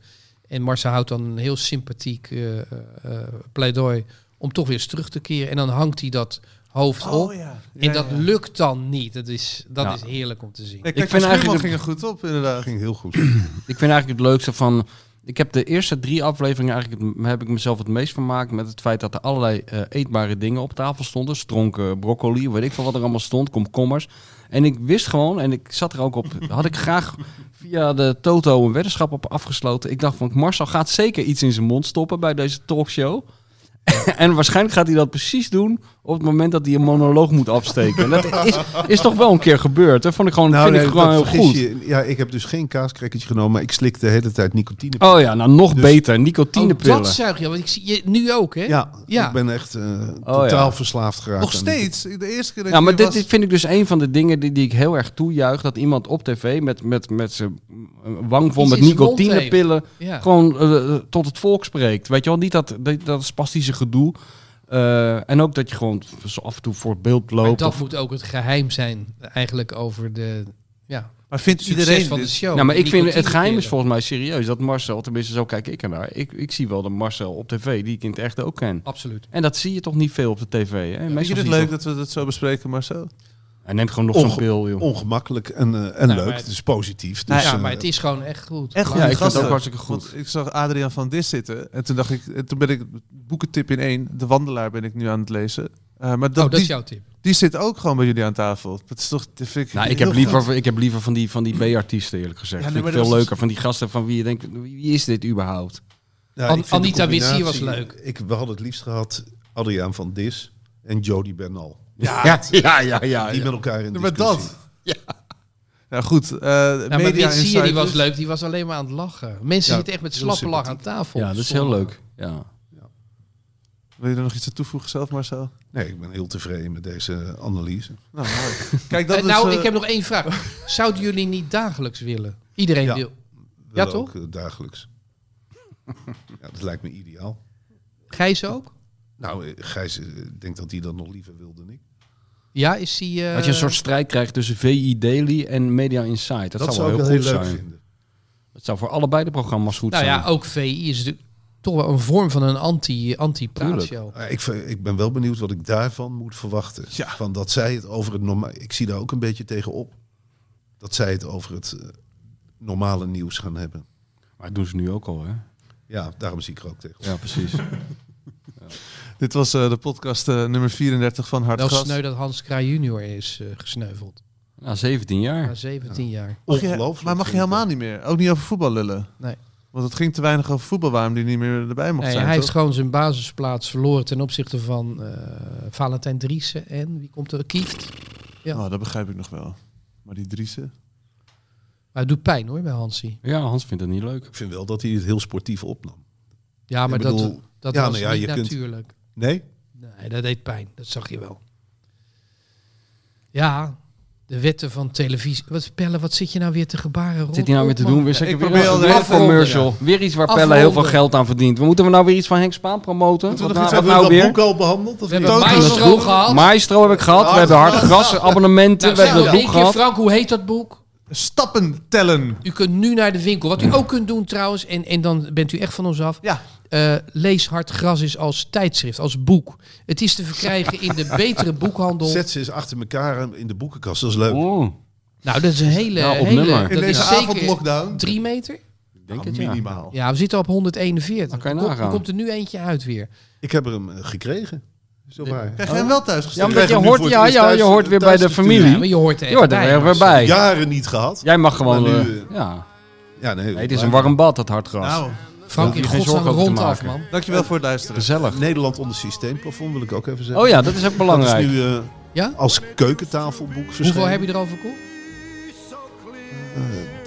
En Marcel houdt dan een heel sympathiek eh, eh, eh, pleidooi om toch weer eens terug te keren. En dan hangt hij dat hoofd op.
Oh, ja.
en dat lukt dan niet. Dat is, dat
Ja.
is heerlijk om te zien.
Nee,
Ik
kijk,
vind
van
eigenlijk
Schuurman
de-
ging er goed op,
dat
inderdaad.
ging heel goed.
Ik vind eigenlijk het leukste van. Ik heb de eerste drie afleveringen eigenlijk het- heb ik mezelf het meest vermaakt met het feit dat er allerlei eh, eetbare dingen op tafel stonden. Stronken, broccoli, weet ik veel wat er allemaal stond, komkommers. En ik wist gewoon, en ik zat er ook op, had ik graag via de Toto een weddenschap op afgesloten. Ik dacht van Marcel gaat zeker iets in zijn mond stoppen bij deze talkshow. en waarschijnlijk gaat hij dat precies doen op het moment dat hij een monoloog moet afsteken. En dat is, is toch wel een keer gebeurd. Dat vond ik gewoon, vind
Nou, nee,
ik gewoon
dat
heel
vergis
goed.
je. Ja, ik heb dus geen kaaskrekkertje genomen, maar ik slik de hele tijd nicotine.
Oh ja, nou nog
Dus-
beter.
Oh,
Nicotinepillen.
dat zuig je, want ik zie je nu ook, hè?
Ja,
Ja.
ik ben echt eh,
Oh,
totaal verslaafd geraakt.
Nog
aan-
steeds. De eerste keer dat
ja,
ik
maar
hier
dit dit vind ik dus een van de dingen die, die ik heel erg toejuich. Dat iemand op tv met, met, met zijn wang vol
Iets
met
in zijn mond
nicotinepillen
Ja.
gewoon eh, tot het volk spreekt. Weet je wel, niet dat, dat, dat spastische gedoe. Eh, en ook dat je gewoon zo af en toe voor het beeld
Maar
loopt.
dat
Of-
moet ook het geheim zijn, eigenlijk over de ja,
was. Maar vindt
succes
iedereen dus.
van de
dit?
show.
ja, maar ik
Die
vind het geheim is
nicotinepillen.
volgens mij serieus. Dat Marcel, tenminste zo kijk ik ernaar. Ik, ik zie wel de Marcel op tv die ik in het echt ook ken.
Absoluut.
En dat zie je toch niet veel op de tv. Hè? Meestal
Vind je
zie
het
je
leuk
toch-
dat we dat zo bespreken, Marcel?
Hij neemt gewoon nog
Onge-
zo'n pil, joh.
Ongemakkelijk en, eh, en
Nou,
leuk.
maar-
Het is positief.
Nou
Dus,
ja,
eh,
maar het is gewoon echt goed. Oh,
Echt
Maar-
Ja, ik vind het
Gasten.
ook hartstikke goed.
Want ik zag Adriaan van Dis zitten. En toen dacht ik, en toen ben ik boekentip in één. De Wandelaar ben ik nu aan het lezen. Eh, maar dat,
Oh, dat is
die,
jouw tip.
die zit ook gewoon bij jullie aan tafel. Dat is toch, dat vind ik
Nou, ik
heel
heb,
gaaf.
liever, ik heb liever van die, van die B-artiesten, eerlijk gezegd.
Ja, nee,
Vind
maar
ik
dat
veel
was-
leuker. Van die gasten van wie je denkt, wie is dit überhaupt?
ja,
An-
ik vind de
Anita Wissier was
combinatie-
leuk.
Ik, we hadden het liefst gehad Adriaan van Dis en Jody Bernal.
Ja, ja, ja. ja, ja.
Ah,
die met elkaar in
Ja,
discussie.
maar dat. Nou goed. eh
Nou,
media
maar Witsier, die
Insight
was
is-
leuk, die was alleen maar aan het lachen. Mensen
Ja,
zitten echt met
heel
slappe lach aan
sympathiek.
tafel.
ja, dat is heel
Zondag.
Eh,
leuk. Ja.
Wil je er nog iets aan toevoegen zelf, Marcel?
Nee, ik ben heel tevreden met deze analyse.
Nou, mooi. Kijk, dat
Eh, nou,
is, eh,
ik heb nog één vraag. Zouden jullie niet dagelijks willen? Iedereen
Ja.
wil.
Wel
Ja, toch?
Ook, eh, dagelijks. ja, dat lijkt me ideaal.
Gijs ook?
Nou, eh, Gijs, eh, ik denk dat hij dat nog liever wil dan ik.
Ja, is die... eh,
Dat je een soort strijd krijgt tussen VI Daily en Media Insight. Dat, zou
ik
wel heel
wel
goed zijn.
vinden.
Dat zou voor allebei de programma's goed
Nou
zijn.
ja, ook VI is natuurlijk toch wel een vorm van een anti- anti-praatshow.
Eh, Ik, vind- ik ben wel benieuwd wat ik daarvan moet verwachten.
Ja.
Van dat zij het over het normaal... Ik zie daar ook een beetje tegenop. Dat zij het over het eh, normale nieuws gaan hebben.
Maar dat doen ze nu ook al, hè?
Ja, daarom zie ik er ook tegen.
Ja, precies.
Dit was eh, de podcast eh, nummer 34 van
Wel
Hartgras.
sneu dat Hans Kraai junior is eh, gesneuveld.
Na 17
Na
jaar.
17 jaar.
Mag je-
Ongelooflijk.
Maar mag je helemaal niet meer? Ook niet over voetbal lullen?
Nee.
Want het ging te weinig over voetbal waarom die niet meer erbij mocht
Nee,
zijn.
hij heeft
toch?
gewoon zijn basisplaats verloren ten opzichte van eh, Valentijn Driessen en wie komt er? Kieft. ja.
Nou, dat begrijp ik nog wel. Maar die Driessen.
Maar het doet pijn hoor bij Hansi.
Ja, Hans vindt dat niet leuk.
Ik vind wel dat hij het heel sportief opnam.
Ah,
Ja, maar dat,
bedoel,
dat
ja,
was
nou ja,
niet
je kunt-
natuurlijk.
Nee?
Nee, dat deed pijn. Dat zag je wel. Ja, de wetten van televisie. Wat, Pelle, wat zit je nou weer te gebaren?
Wat zit hij nou weer te doen? Weer zeker
ik
weer
probeer al
een
de
weer
hele
een
tijd-
commercial. Weer iets waar Pelle heel veel
Afronden.
geld aan verdient. We moeten we nou weer iets van Henk Spaan promoten? Wat
nog
nou,
iets
wat
hebben
nou
Hebben we dat
weer?
boek al behandeld? Of
We hebben
niet?
Totaal
Maestro
goed.
gehad.
Maestro heb ik gehad. We hebben hard gras, abonnementen.
Nou,
We
zeg
hebben
nou
het
één
boek
keer,
gehad.
Frank, hoe heet dat boek?
eh, Stappen tellen.
U kunt nu naar de winkel. Wat u ook kunt doen trouwens, en, en dan bent u echt van ons af.
Ja.
Eh, lees Hard Gras is als tijdschrift, als boek. Het is te verkrijgen in de betere boekhandel.
Zet ze eens achter elkaar in de boekenkast. Dat is leuk.
Oh,
Nou, dat is een hele...
Nou, op
hele
nummer.
dat
in
is
deze
zeker
avondlockdown.
Drie meter?
ik denk
Oh,
Ah,
het ja.
minimaal.
Ja, we zitten op 141.
Dan kan je
Er komt-
nagaan.
Er komt er nu eentje uit weer.
Ik heb er hem eh, gekregen. Zo
De-
waar.
Krijg je hem wel thuis
Ja,
gestuurd?
omdat je
hem nu
hoort,
voor het
ja,
eerst
ja, je
thuis-
hoort weer bij
thuis
de
te doen.
Ja, maar
familie.
je hoort er
Je hoort er
bij,
weer
Marcel.
bij.
Jaren niet gehad.
Jij mag gewoon...
Maar nu,
eh,
eh,
ja.
Ja, nee,
Nee, het is een warm bad, dat hard gras.
Nou,
Frank,
Daar
in
hoef je geen
godsnaam
zorgen over te
rondaf,
maken.
man.
dankjewel voor het luisteren.
Gezellig.
Nederland onder systeemplafond wil ik ook even zeggen.
Oh ja, dat is ook
Dat is
belangrijk.
nu eh,
Ja?
als keukentafelboek
Hoeveel
verschenen.
heb je erover verkocht?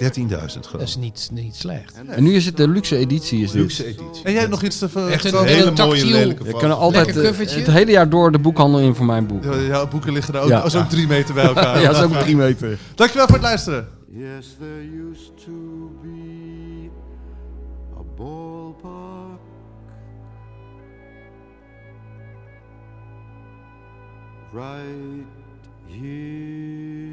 Eh, 13.000
Dat is
geloof ik.
niet, niet slecht.
En nu is het de luxe editie. Is dit.
Luxe editie.
En jij hebt nog iets te ver...
Echt een-
Een hele mooie
tactiel.
lelijke
We
foto.
kunnen altijd
Lekker
eh,
covertje.
het hele jaar door de boekhandel in voor mijn boek.
Ja, jouw boeken liggen er ook,
Ja.
oh, zo'n drie meter bij elkaar.
Ja, dat is ook drie meter.
Dankjewel voor het luisteren.
Yes, there used to be a ballpark right here.